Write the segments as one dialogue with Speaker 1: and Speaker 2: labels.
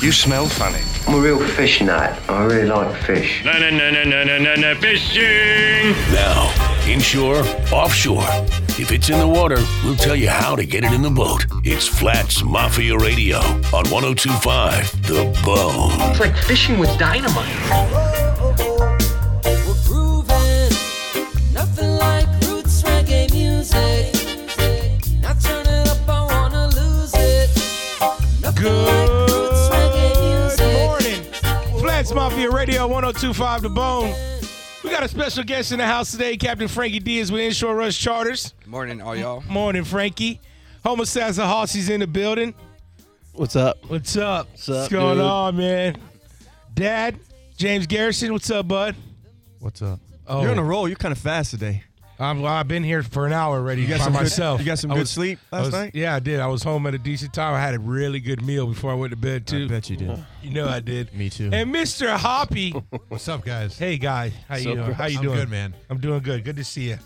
Speaker 1: You smell funny.
Speaker 2: I'm a real fish nut. I really like fish.
Speaker 3: No, no, no, no, no, no, no, no, fishing!
Speaker 4: Now, inshore, offshore. If it's in the water, we'll tell you how to get it in the boat. It's Flats Mafia Radio on 1025 The Bone.
Speaker 5: It's like fishing with dynamite.
Speaker 6: Good morning. Flats Mafia Radio 1025 The Bone. We got a special guest in the house today, Captain Frankie Diaz with Inshore Rush Charters.
Speaker 7: Morning, all y'all.
Speaker 6: Morning, Frankie. Homicides and Hossies in the building.
Speaker 8: What's up?
Speaker 6: What's up? What's,
Speaker 8: up,
Speaker 6: going
Speaker 8: dude?
Speaker 6: on, man? Dad, James Garrison, what's up, bud?
Speaker 9: What's up?
Speaker 6: Oh,
Speaker 9: You're on a roll. You're kind of fast today.
Speaker 6: I'm, well, I've been here for an hour already
Speaker 9: You got
Speaker 6: by
Speaker 9: some good-
Speaker 6: myself.
Speaker 9: you got some
Speaker 6: I
Speaker 9: good
Speaker 6: was-
Speaker 9: sleep
Speaker 6: I
Speaker 9: last
Speaker 6: was-
Speaker 9: night?
Speaker 6: Yeah, I did. I was home at a decent time. I had a really good meal before I went to bed, too.
Speaker 9: I bet you did.
Speaker 6: You know I did.
Speaker 9: Me too.
Speaker 6: And Mr. Hoppy.
Speaker 9: What's up, guys?
Speaker 6: Hey guys, how you doing? How you
Speaker 9: I'm
Speaker 6: doing?
Speaker 9: good, man.
Speaker 6: I'm doing good. Good to see you.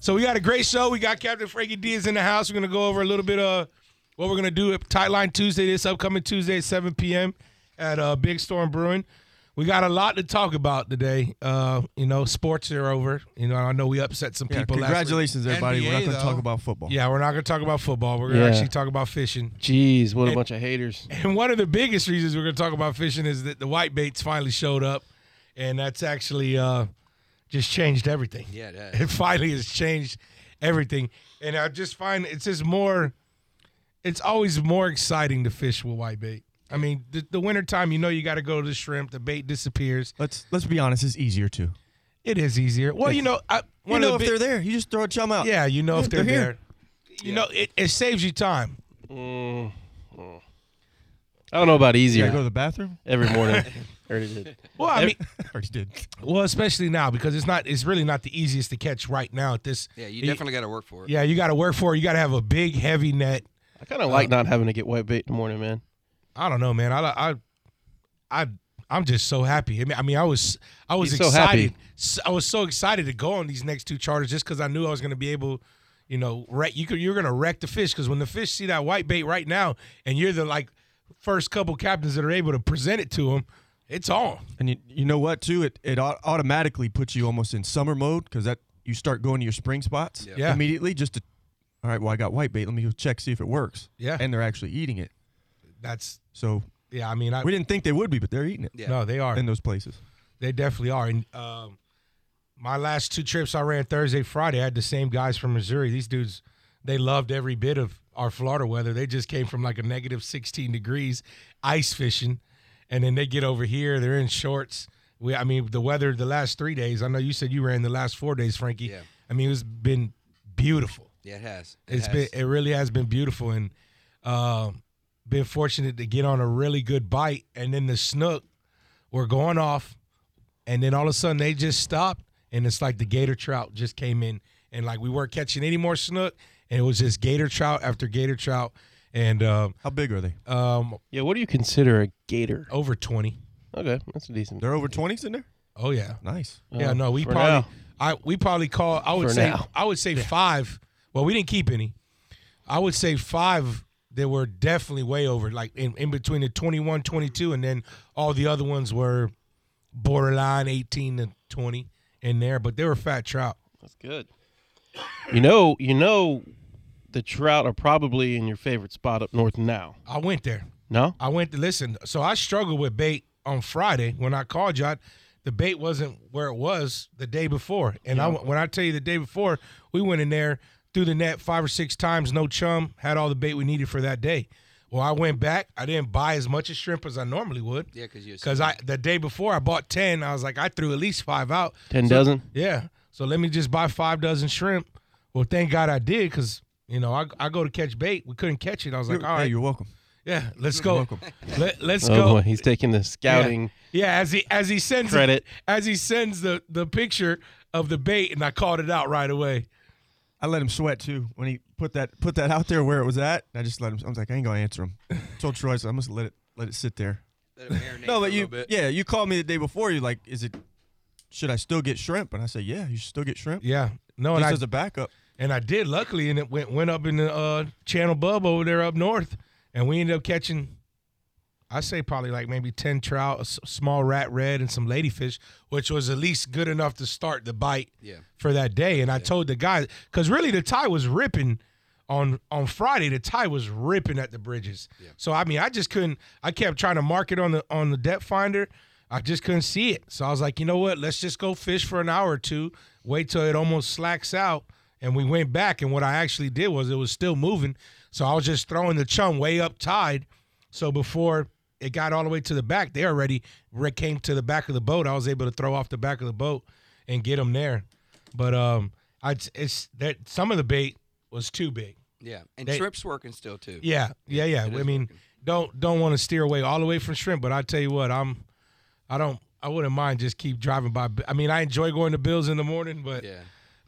Speaker 6: So we got a great show. We got Captain Frankie Diaz in the house. We're gonna go over a little bit of what we're gonna do at Tightline Tuesday this upcoming Tuesday at 7 p.m. at uh, Big Storm Brewing. We got a lot to talk about today. Uh, you know, sports are over. You know, I know we upset some
Speaker 9: Yeah,
Speaker 6: people. Last
Speaker 9: congratulations, everybody. We're not
Speaker 7: NBA
Speaker 9: going to talk
Speaker 7: though.
Speaker 9: about football.
Speaker 6: week. Yeah, we're not gonna talk about football. We're gonna
Speaker 8: Yeah.
Speaker 6: actually talk about fishing.
Speaker 8: Jeez, what a
Speaker 6: And-
Speaker 8: bunch of haters.
Speaker 6: And one of the biggest reasons we're going to talk about fishing is that the white baits finally showed up, and that's actually uh, just changed everything.
Speaker 7: Yeah, it has.
Speaker 6: it finally has changed everything. And I just find it's just more, it's always more exciting to fish with white bait. I mean, the, the winter time, you know, you got to go to the shrimp. The bait disappears.
Speaker 9: Let's let's be honest. It's easier too.
Speaker 6: It is easier. Well, you know, I,
Speaker 9: You
Speaker 6: one
Speaker 9: know
Speaker 6: of
Speaker 9: if
Speaker 6: the
Speaker 9: they're
Speaker 6: big-
Speaker 9: there, you just throw a chum out.
Speaker 6: yeah, you know if
Speaker 9: Yeah,
Speaker 6: they're,
Speaker 9: they're here.
Speaker 6: there. You know, it, it saves you time.
Speaker 8: I don't know about easier.
Speaker 9: You gotta go to the bathroom.
Speaker 8: Every morning. Heard it did.
Speaker 6: Well, I mean,
Speaker 9: Already did.
Speaker 6: well, especially now because it's not, it's really not the easiest to catch right now at this.
Speaker 7: Yeah, you definitely got to work for it.
Speaker 6: Yeah, you got to work for it. You got to have a big, heavy net.
Speaker 8: I kind of
Speaker 9: Uh,
Speaker 8: like not having to get white bait in the morning, man.
Speaker 6: I don't know, man. I, I, I, I'm just so happy. I mean, I, mean, I was, I was
Speaker 8: He's so
Speaker 6: excited.
Speaker 8: happy.
Speaker 6: S- I was so excited to go on these next two charters just because I knew I was going to be able, you know, wreck. You could, you're going to wreck the fish because when the fish see that white bait right now, and you're the like first couple captains that are able to present it to them, it's on.
Speaker 9: And you, you know what too? It it au- automatically puts you almost in summer mode because that you start going to your spring spots
Speaker 6: Yeah.
Speaker 9: immediately just to. All right, well I got white bait. Let me go check see if it works.
Speaker 6: Yeah.
Speaker 9: And they're actually eating it.
Speaker 6: That's
Speaker 9: So
Speaker 6: yeah. I mean, I
Speaker 9: we didn't think they would be, but they're eating it
Speaker 7: Yeah.
Speaker 6: no, they are.
Speaker 9: in those places.
Speaker 6: They definitely are. And um, my last two trips I ran Thursday, Friday, I had the same guys from Missouri. These dudes, they loved every bit of our Florida weather. They just came from like a negative 16 degrees ice fishing. And then they get over here, they're in shorts. We, I mean, the weather the last three days, I know you said you ran the last four days, Frankie.
Speaker 7: Yeah.
Speaker 6: I mean, it's been beautiful.
Speaker 7: Yeah, it has. It
Speaker 6: It's
Speaker 7: has.
Speaker 6: been it really has been beautiful and um, been fortunate to get on a really good bite and then the snook were going off and then all of a sudden they just stopped and it's like the gator trout just came in and like we weren't catching any more snook and it was just gator trout after gator trout and um,
Speaker 9: How big are they?
Speaker 6: um,
Speaker 8: Yeah, what do you consider a gator?
Speaker 6: over 20
Speaker 8: Okay, that's a decent.
Speaker 9: They're over twenties in there.
Speaker 6: oh yeah
Speaker 9: Nice.
Speaker 6: yeah
Speaker 8: Uh,
Speaker 6: no we
Speaker 8: for
Speaker 6: probably I we probably call I would
Speaker 8: For
Speaker 6: say
Speaker 8: now.
Speaker 6: I would say 5 well we didn't keep any I would say 5 that were definitely way over like in, in between the 21 22 and then all the other ones were borderline 18 to 20 in there but they were fat trout
Speaker 8: That's good. You know, you know, the trout are probably in your favorite spot up north now.
Speaker 6: I went there
Speaker 8: No,
Speaker 6: I went to listen. So I struggled with bait on Friday when I called you. I, the bait wasn't where it was the day before, and I when I tell you the day before, we went in there threw the net five or six times, no chum, had all the bait we needed for that day. Well, I went back. I didn't buy as much as shrimp as I normally would.
Speaker 7: Yeah, because you.
Speaker 6: Cause I the day before I bought ten. I was like, I threw at least five out.
Speaker 8: ten dozen.
Speaker 6: Yeah. So let me just buy five dozen shrimp. Well, thank God I did, cause you know I, I go to catch bait. We couldn't catch it. I was like,
Speaker 9: You're-
Speaker 6: all
Speaker 9: hey,
Speaker 6: right,
Speaker 9: you're welcome.
Speaker 6: yeah, let's go.
Speaker 9: welcome.
Speaker 6: Let, let's
Speaker 8: oh
Speaker 6: go.
Speaker 8: boy, he's taking the scouting.
Speaker 6: Yeah, as he as he sends
Speaker 8: Credit.
Speaker 6: as he sends the the picture of the bait, and I called it out right away.
Speaker 9: I let him sweat too when he put that put that out there where it was at. I just let him. I was like, I ain't gonna answer him. told Troy, so I'm just let it let it sit there. No, but you yeah, you called me the day before. You like, is it? Should I still get shrimp? And I said, yeah, you should still get shrimp.
Speaker 6: Yeah, no,
Speaker 9: Just
Speaker 6: and I
Speaker 9: as a backup.
Speaker 6: and I did luckily, and it went went up in the uh, Channel Bub over there up north, and we ended up catching I say probably like maybe ten trout, a s- small rat red, and some ladyfish, which was at least good enough to start the bite
Speaker 7: Yeah.
Speaker 6: for that day. And I told the guy because really the tide was ripping on on Friday. The tide was ripping at the bridges. So I mean, I just couldn't. I kept trying to mark it on the on the depth finder. I just couldn't see it. So I was like, you know what? Let's just go fish for an hour or two. Wait till it almost slacks out. And we went back. And what I actually did was it was still moving. So I was just throwing the chum way up tide. So before it got all the way to the back, they already re- came to the back of the boat. I was able to throw off the back of the boat and get them there. But um, I it's that some of the bait was too big.
Speaker 7: Yeah. And
Speaker 6: They-
Speaker 7: shrimp's working still too.
Speaker 6: Yeah, yeah, yeah.
Speaker 7: it
Speaker 6: I
Speaker 7: is
Speaker 6: mean,
Speaker 7: working.
Speaker 6: don't don't want to steer away all the way from shrimp, but I tell you what, I'm I don't I wouldn't mind just keep driving by. I mean, I enjoy going to Bills in the morning, but
Speaker 7: Yeah.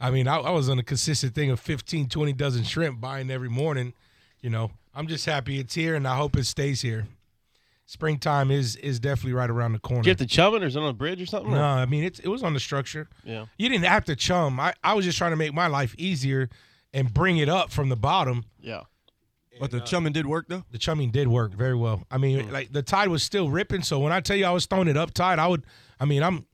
Speaker 6: I mean, I, I was on a consistent thing of 15, 20 dozen shrimp buying every morning. You know, I'm just happy it's here, and I hope it stays here. Springtime is is definitely right around the corner.
Speaker 8: Get the chumming or is it on a bridge or something?
Speaker 6: no, I mean it's it was on the structure.
Speaker 8: Yeah.
Speaker 6: You didn't have to chum. I, I was just trying to make my life easier and bring it up from the bottom.
Speaker 8: Yeah.
Speaker 9: But the chumming did work though.
Speaker 6: The chumming did work very well. I mean, like the tide was still ripping. So when I tell you I was throwing it up tide, I would, I mean, I'm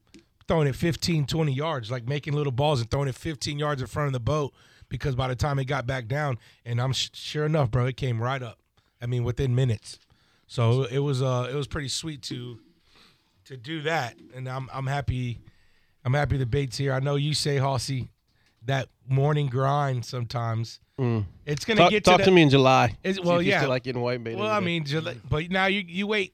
Speaker 6: throwing it 15, 20 yards, like making little balls and throwing it 15 yards in front of the boat because by the time it got back down, and I'm sh- sure enough, bro, it came right up. I mean, within minutes. So it was, uh, it was pretty sweet to, to do that. And I'm, I'm happy, I'm happy the bait's here. I know you say, Hossy, that morning grind sometimes. It's gonna
Speaker 8: Mm. Talk,
Speaker 6: get to
Speaker 8: talk
Speaker 6: that-
Speaker 8: to me in July.
Speaker 6: Is-
Speaker 8: See
Speaker 6: well,
Speaker 8: if you
Speaker 6: yeah.
Speaker 8: still like getting white bait.
Speaker 6: well,
Speaker 8: in
Speaker 6: I
Speaker 8: there.
Speaker 6: mean, July, but now you you wait.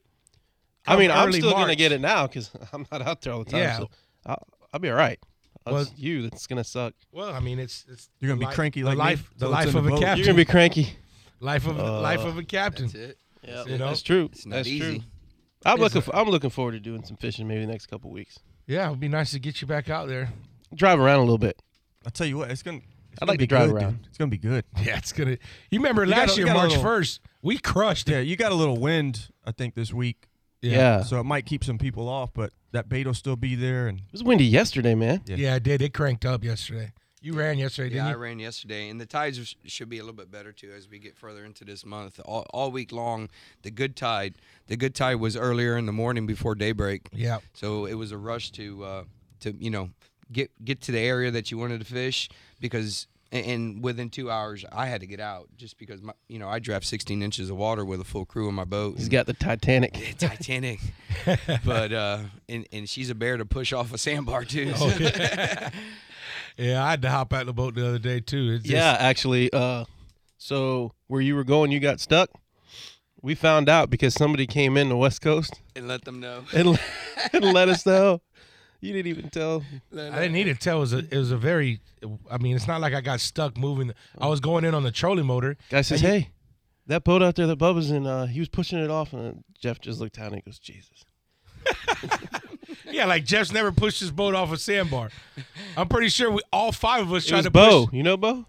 Speaker 8: I mean, I'm
Speaker 6: early
Speaker 8: still gonna
Speaker 6: March.
Speaker 8: get it now because I'm not out there all the time.
Speaker 6: Yeah.
Speaker 8: So I'll, I'll be all right. It's
Speaker 6: Well-
Speaker 8: you that's gonna suck.
Speaker 6: Well, I mean, it's, it's
Speaker 9: You're gonna be
Speaker 6: li-
Speaker 9: cranky
Speaker 6: the
Speaker 9: like me
Speaker 6: life, the
Speaker 9: till it's
Speaker 6: life
Speaker 9: in
Speaker 6: of
Speaker 9: the
Speaker 6: a
Speaker 9: boat.
Speaker 8: You're
Speaker 6: captain,
Speaker 8: gonna be cranky.
Speaker 6: life of life of a captain.
Speaker 7: Uh, That's it.
Speaker 8: Yeah,
Speaker 6: You know?
Speaker 8: that's true.
Speaker 7: It's not
Speaker 8: that's
Speaker 7: easy.
Speaker 8: true. I'm looking. For, I'm looking forward to doing some fishing maybe the next couple weeks.
Speaker 6: Yeah, it'd be nice to get you back out there.
Speaker 8: Drive around a little bit.
Speaker 9: I tell you what, it's gonna. It's
Speaker 8: I'd
Speaker 9: gonna
Speaker 8: like
Speaker 9: be
Speaker 8: to drive
Speaker 9: good, dude.
Speaker 8: around.
Speaker 9: It's gonna be good.
Speaker 6: Yeah, it's gonna. You remember
Speaker 9: got a-
Speaker 6: last
Speaker 9: you
Speaker 6: year,
Speaker 9: got a
Speaker 6: March
Speaker 9: little-
Speaker 6: first, we crushed
Speaker 9: Yeah,
Speaker 6: it.
Speaker 9: you got a little wind, I think, this week,
Speaker 8: Yeah.
Speaker 9: so it might keep some people off, but that bait will still be there. And
Speaker 8: It was windy yesterday, man.
Speaker 6: yeah, it did. It cranked up yesterday. You ran yesterday, didn't
Speaker 7: Yeah, I
Speaker 6: you?
Speaker 7: ran yesterday, and the tides are- should be a little bit better too as we get further into this month. All, all week long, the good tide, the good tide was earlier in the morning before daybreak.
Speaker 6: yeah,
Speaker 7: So it was a rush to uh, to you know get get to the area that you wanted to fish because and- and within two hours I had to get out just because my you know I draft 16 inches of water with a full crew in my boat.
Speaker 8: He's got the Titanic.
Speaker 7: Titanic, but uh, and and she's a bear to push off a sandbar too.
Speaker 6: Oh,
Speaker 7: so-
Speaker 6: yeah. I had to hop out the boat the other day too. It's just-
Speaker 8: yeah, actually. Uh, so where you were going, you got stuck. We found out because somebody came in the West Coast
Speaker 7: and let them know.
Speaker 8: and, and let us know. You didn't even tell.
Speaker 6: I didn't need to tell. It was a, it was a very. I mean, it's not like I got stuck moving. I was going in on the trolling motor.
Speaker 8: Guy says, "Hey, that boat out there that Bubba's in, uh, he was pushing it off." And uh, Jeff just looked down and he goes, "Jesus."
Speaker 6: Yeah, like Jeff's never pushed his boat off a sandbar. I'm pretty sure we all five of us
Speaker 8: It
Speaker 6: tried
Speaker 8: was
Speaker 6: to
Speaker 8: Bo.
Speaker 6: push
Speaker 8: You know Bo?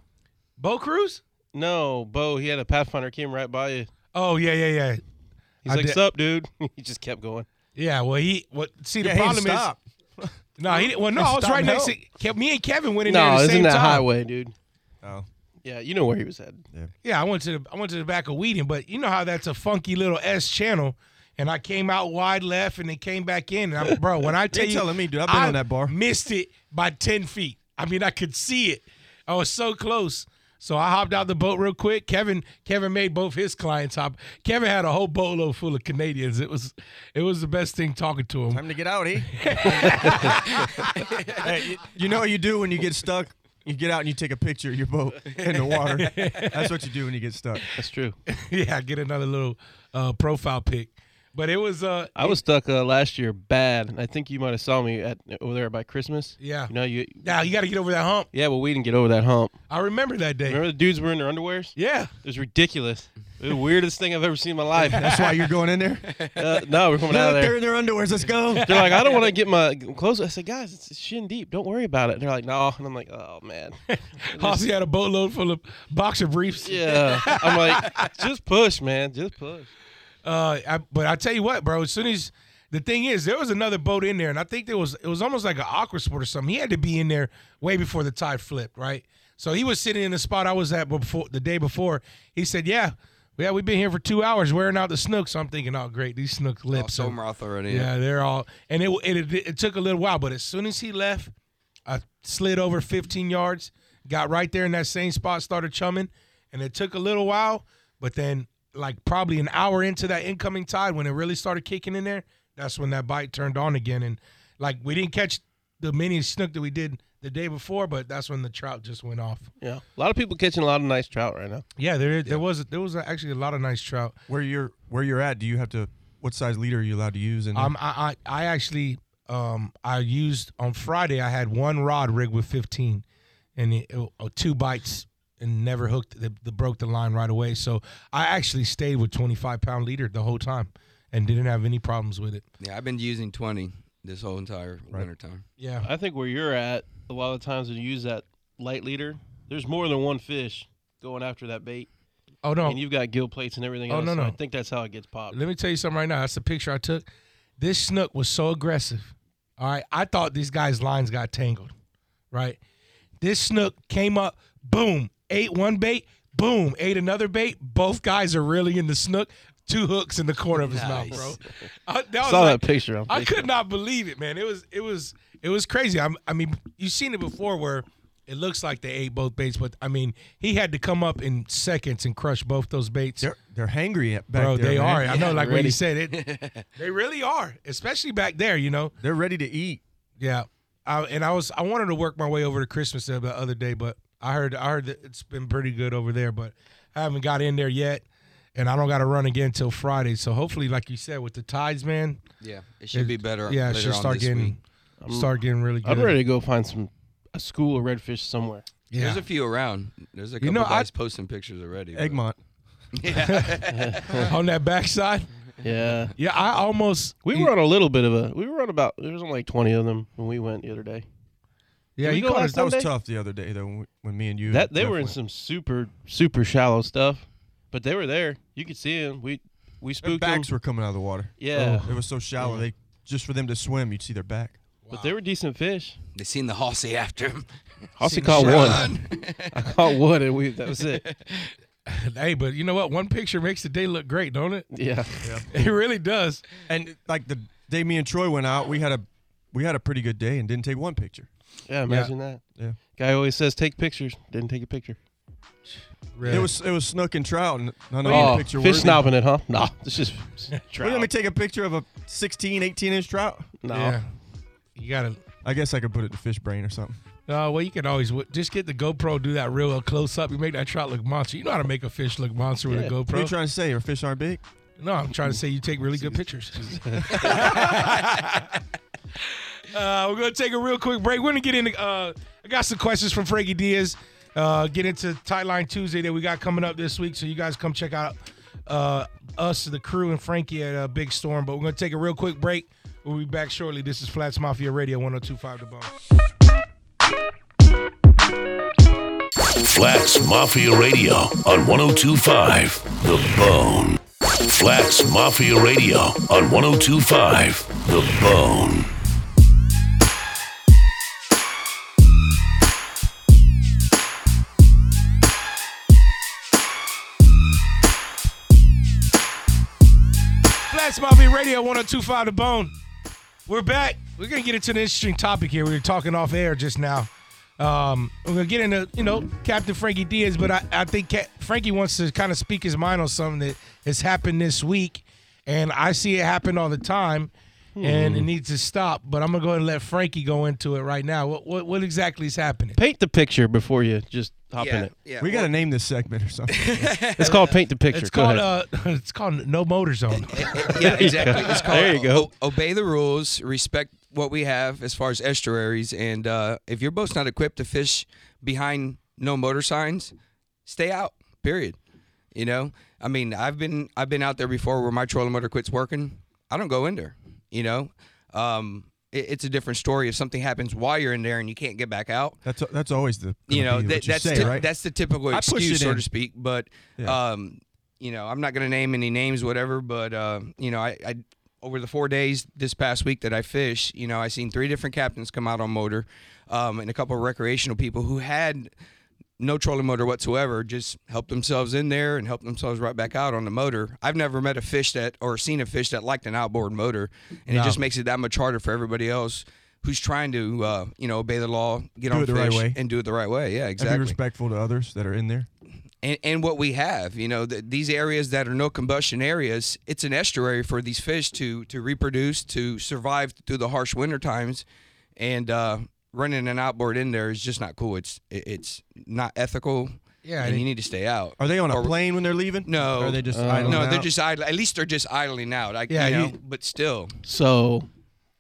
Speaker 6: Bo Cruz.
Speaker 8: No, Bo. He had a Pathfinder came right by you.
Speaker 6: Oh yeah, yeah, yeah,
Speaker 8: He's
Speaker 6: I
Speaker 8: like,
Speaker 6: did-
Speaker 8: "Sup, dude?" he just kept going.
Speaker 6: yeah. Well, he what? See, the
Speaker 9: Yeah, he didn't
Speaker 6: problem is
Speaker 9: stop.
Speaker 6: no, he didn't. Well, no, I was
Speaker 9: Stop
Speaker 6: right
Speaker 9: and
Speaker 6: next to
Speaker 9: help.
Speaker 6: Kev- me and Kevin went in there
Speaker 8: No,
Speaker 6: at the
Speaker 8: it's
Speaker 6: same
Speaker 8: in that
Speaker 6: time.
Speaker 8: highway, dude.
Speaker 9: Oh,
Speaker 8: Yeah, you know where he was headed.
Speaker 6: Yeah, I went to the I went to the back of Whedon, but you know how that's a funky little S channel, and I came out wide left and then came back in. And I, bro, when I tell
Speaker 9: You're
Speaker 6: you,
Speaker 9: telling me, dude, I've been
Speaker 6: I
Speaker 9: on that bar.
Speaker 6: Missed it by ten feet. I mean, I could see it. I was so close. So I hopped out the boat real quick. Kevin, Kevin made both his clients hop. Kevin had a whole bolo full of Canadians. It was, it was the best thing talking to him.
Speaker 9: time to get out, eh? Hey, you, you know what you do when you get stuck? You get out and you take a picture of your boat in the water. That's what you do when you get stuck.
Speaker 8: That's true.
Speaker 6: yeah, get another little uh, profile pic. But it was, uh,
Speaker 8: I was stuck uh, last year bad, and I think you might have saw me at over there by Christmas.
Speaker 6: Yeah.
Speaker 8: You know you.
Speaker 6: now you got to get over that hump.
Speaker 8: Yeah, but we didn't get over that hump.
Speaker 6: I remember that day.
Speaker 8: Remember the dudes were in their underwears?
Speaker 6: Yeah.
Speaker 8: It was ridiculous. It was the weirdest thing I've ever seen in my life.
Speaker 9: That's why you're going in there.
Speaker 8: Uh, no, we're coming out
Speaker 9: Look,
Speaker 8: of
Speaker 9: they're
Speaker 8: there.
Speaker 9: in their underwears. Let's go.
Speaker 8: They're like, I don't want to get my clothes. I said, guys, it's shin deep. Don't worry about it. And they're like, no. And I'm like, oh man.
Speaker 6: Hossy had a boatload full of boxer briefs.
Speaker 8: Yeah. I'm like, just push, man. Just push.
Speaker 6: Uh, I, but I tell you what, bro. As soon as the thing is, there was another boat in there, and I think there was it was almost like an aqua sport or something. He had to be in there way before the tide flipped, right? So he was sitting in the spot I was at before the day before. He said, "Yeah, Yeah, we've been here for two hours wearing out the snooks. So I'm thinking, oh, great, these snook
Speaker 7: Oh,
Speaker 6: lips. are-
Speaker 7: some Roth already.
Speaker 6: yeah, they're all. And it, it it it took a little while, but as soon as he left, I slid over 15 yards, got right there in that same spot, started chumming, and it took a little while. But then, like probably an hour into that incoming tide, when it really started kicking in there, that's when that bite turned on again. And like we didn't catch the mini snook that we did the day before, but that's when the trout just went off.
Speaker 8: Yeah, a lot of people catching a lot of nice trout right now.
Speaker 6: Yeah, there there was there was actually a lot of nice trout.
Speaker 9: Where you're where you're at, do you have to? What size leader are you allowed to use? And
Speaker 6: Um, I, I, I actually, um, I used on Friday. I had one rod rigged with fifteen, and it, uh, two bites, and never hooked. They, they broke the line right away. So I actually stayed with twenty five pound leader the whole time, and didn't have any problems with it.
Speaker 7: yeah. I've been using 20 this whole entire winter time.
Speaker 6: Yeah,
Speaker 8: I think where you're at, a lot of times when you use that light leader, there's more than one fish going after that bait,
Speaker 6: Oh no.
Speaker 8: and you've got gill plates and everything
Speaker 6: Oh,
Speaker 8: else.
Speaker 6: no,
Speaker 8: so
Speaker 6: no.
Speaker 8: I think that's how it gets popped.
Speaker 6: Let me tell you something right now. That's the picture I took. This snook was so aggressive. All right. I thought these guys' lines got tangled. Right. This snook came up, boom, ate one bait, boom, ate another bait. Both guys are really in the snook. Two hooks in the corner of his mouth, bro. I, that was
Speaker 8: Saw
Speaker 6: like-
Speaker 8: that picture. on
Speaker 6: I
Speaker 8: Facebook.
Speaker 6: could not believe it, man. It was it was it was crazy. I'm, I mean, you've seen it before where it looks like they ate both baits, but I mean, he had to come up in seconds and crush both those baits.
Speaker 9: they're they're hangry at- back
Speaker 6: Bro,
Speaker 9: there.
Speaker 6: they
Speaker 9: man.
Speaker 6: are. I know, like what
Speaker 8: ready.
Speaker 6: you said, it. They really are, especially back there. You know.
Speaker 9: They're ready to eat.
Speaker 6: Yeah. I, and I was I wanted to work my way over to Christmas the other day, but I heard I heard that it's been pretty good over there, but I haven't got in there yet, and I don't got to run again till Friday. So hopefully, like you said, with the tides, man,
Speaker 7: Yeah, it should be better.
Speaker 6: Yeah, it
Speaker 7: later
Speaker 6: should
Speaker 7: on
Speaker 6: start
Speaker 7: this week.
Speaker 6: getting start getting really good.
Speaker 8: I'm ready to go find some a school of redfish somewhere.
Speaker 6: Yeah.
Speaker 7: There's a few around. There's a couple
Speaker 6: know, I-
Speaker 7: guys posting pictures already. but-
Speaker 9: Egmont.
Speaker 6: on that backside.
Speaker 8: Yeah,
Speaker 6: Yeah, I almost
Speaker 8: we were on a little bit of a. We were on about. There was only like 20 of them when we went the other day.
Speaker 6: Yeah,
Speaker 8: we
Speaker 6: you
Speaker 8: go
Speaker 6: caught
Speaker 8: last
Speaker 6: us.
Speaker 9: That was
Speaker 8: Sunday?
Speaker 9: tough the other day though when we- when me and you.
Speaker 8: That they
Speaker 9: Jeff
Speaker 8: were in
Speaker 9: went.
Speaker 8: some super super shallow stuff, but they were there. You could see them. We we
Speaker 9: Their
Speaker 8: spooked
Speaker 9: backs
Speaker 8: them.
Speaker 9: were coming out of the water.
Speaker 8: yeah,
Speaker 9: It was so shallow. They just for them to swim, you'd see their back.
Speaker 8: but they were decent fish.
Speaker 7: They seen the Hossy after him.
Speaker 8: Hossy caught one. I caught one, and we that was it.
Speaker 6: Hey, but you know what? One picture makes the day look great, don't it?
Speaker 8: Yeah,
Speaker 6: It really does.
Speaker 9: And like the day me and Troy went out, we had a we had a pretty good day and didn't take one picture.
Speaker 8: yeah. Imagine that.
Speaker 9: Yeah.
Speaker 8: Guy always says take pictures. Didn't take a picture.
Speaker 9: It was it was snook and trout and none of
Speaker 8: Oh,
Speaker 9: them picture
Speaker 8: fish
Speaker 9: worthy.
Speaker 8: snobbing it, huh? Nah, it's just
Speaker 9: Well,
Speaker 8: trout.
Speaker 9: let me take a picture of a 16, 18 inch trout.
Speaker 8: no.
Speaker 6: Yeah. You gotta
Speaker 9: I guess I could put it to fish brain or something.
Speaker 6: Uh, well, you can always w- just get the GoPro, do that real close up. You make that trout look monster. You know how to make a fish look monster with
Speaker 8: Yeah.
Speaker 6: a
Speaker 9: What are you
Speaker 6: GoPro.
Speaker 9: trying to say? Our fish aren't big?
Speaker 6: no, I'm trying to say you take really good pictures. uh, we're gonna take a real quick break. We're gonna get into. Uh, I got some questions from Frankie Diaz. Uh, get into Tightline Tuesday that we got coming up this week. So you guys come check out uh, us, the crew, and Frankie at uh, Big Storm. But we're gonna take a real quick break. We'll be back shortly. This is Flats Mafia Radio 102.5 The Bone.
Speaker 4: Flats Mafia Radio on 1025 The Bone. Flats Mafia Radio on 1025 The Bone.
Speaker 6: Blast Mafia Radio 1025 The Bone. We're back. We're going to get into an interesting topic here. We were talking off air just now. Um, we're going to get into, you know, Captain Frankie Diaz, but I, I think Cap- Frankie wants to kind of speak his mind on something that has happened this week. And I see it happen all the time,
Speaker 8: Hmm.
Speaker 6: and it needs to stop. But I'm going to go ahead and let Frankie go into it right now. What, what, what exactly is happening?
Speaker 8: paint the picture before you just hop in
Speaker 7: Yeah,
Speaker 8: it.
Speaker 7: yeah.
Speaker 9: We got to name this segment or something.
Speaker 8: It's called paint the picture.
Speaker 6: It's
Speaker 8: Go
Speaker 6: called,
Speaker 8: ahead.
Speaker 6: uh, it's called No Motor Zone.
Speaker 7: yeah, exactly. It's called,
Speaker 8: There you go.
Speaker 7: o- obey the rules, respect what we have as far as estuaries, and uh, if your boat's not equipped to fish behind no motor signs, stay out. Period. You know, I mean, I've been I've been out there before where my trolling motor quits working. I don't go in there. You know, um, it- it's a different story if something happens while you're in there and you can't get back out
Speaker 9: That's that's always the
Speaker 7: you
Speaker 9: gonna
Speaker 7: know
Speaker 9: be
Speaker 7: that,
Speaker 9: what you
Speaker 7: that's
Speaker 9: say,
Speaker 7: the,
Speaker 9: right?
Speaker 7: that's the typical
Speaker 9: I push
Speaker 7: excuse,
Speaker 9: it
Speaker 7: so
Speaker 9: in.
Speaker 7: to speak. But
Speaker 9: Yeah.
Speaker 7: um, you know, I'm not going to name any names, whatever. But uh, you know, I, I over the four days this past week that I fish, you know, I seen three different captains come out on motor, um, and a couple of recreational people who had no trolling motor whatsoever, just help themselves in there and help themselves right back out on the motor. I've never met a fish that or seen a fish that liked an outboard motor, and
Speaker 6: No.
Speaker 7: it just makes it that much harder for everybody else who's trying to uh, you know obey the law, get
Speaker 9: Do
Speaker 7: on
Speaker 9: it the
Speaker 7: fish,
Speaker 9: right way.
Speaker 7: and do it the right way. Yeah,
Speaker 9: And
Speaker 7: exactly.
Speaker 9: Be respectful to others that are in there.
Speaker 7: and, and what we have, you know, th- these areas that are no combustion areas, it's an estuary for these fish to to reproduce, to survive through the harsh winter times, and uh, running an outboard in there is just not cool. It's it- it's not ethical.
Speaker 6: Yeah,
Speaker 7: and
Speaker 6: it-
Speaker 7: you need to stay out.
Speaker 9: Are they on a
Speaker 7: Or-
Speaker 9: plane when they're leaving?
Speaker 7: No,
Speaker 9: Or are they just
Speaker 8: Uh,
Speaker 9: idling
Speaker 7: no, they're
Speaker 9: out?
Speaker 7: just idle. At least they're just idling out. I,
Speaker 6: Yeah,
Speaker 7: you know,
Speaker 6: you-
Speaker 7: but still,
Speaker 8: So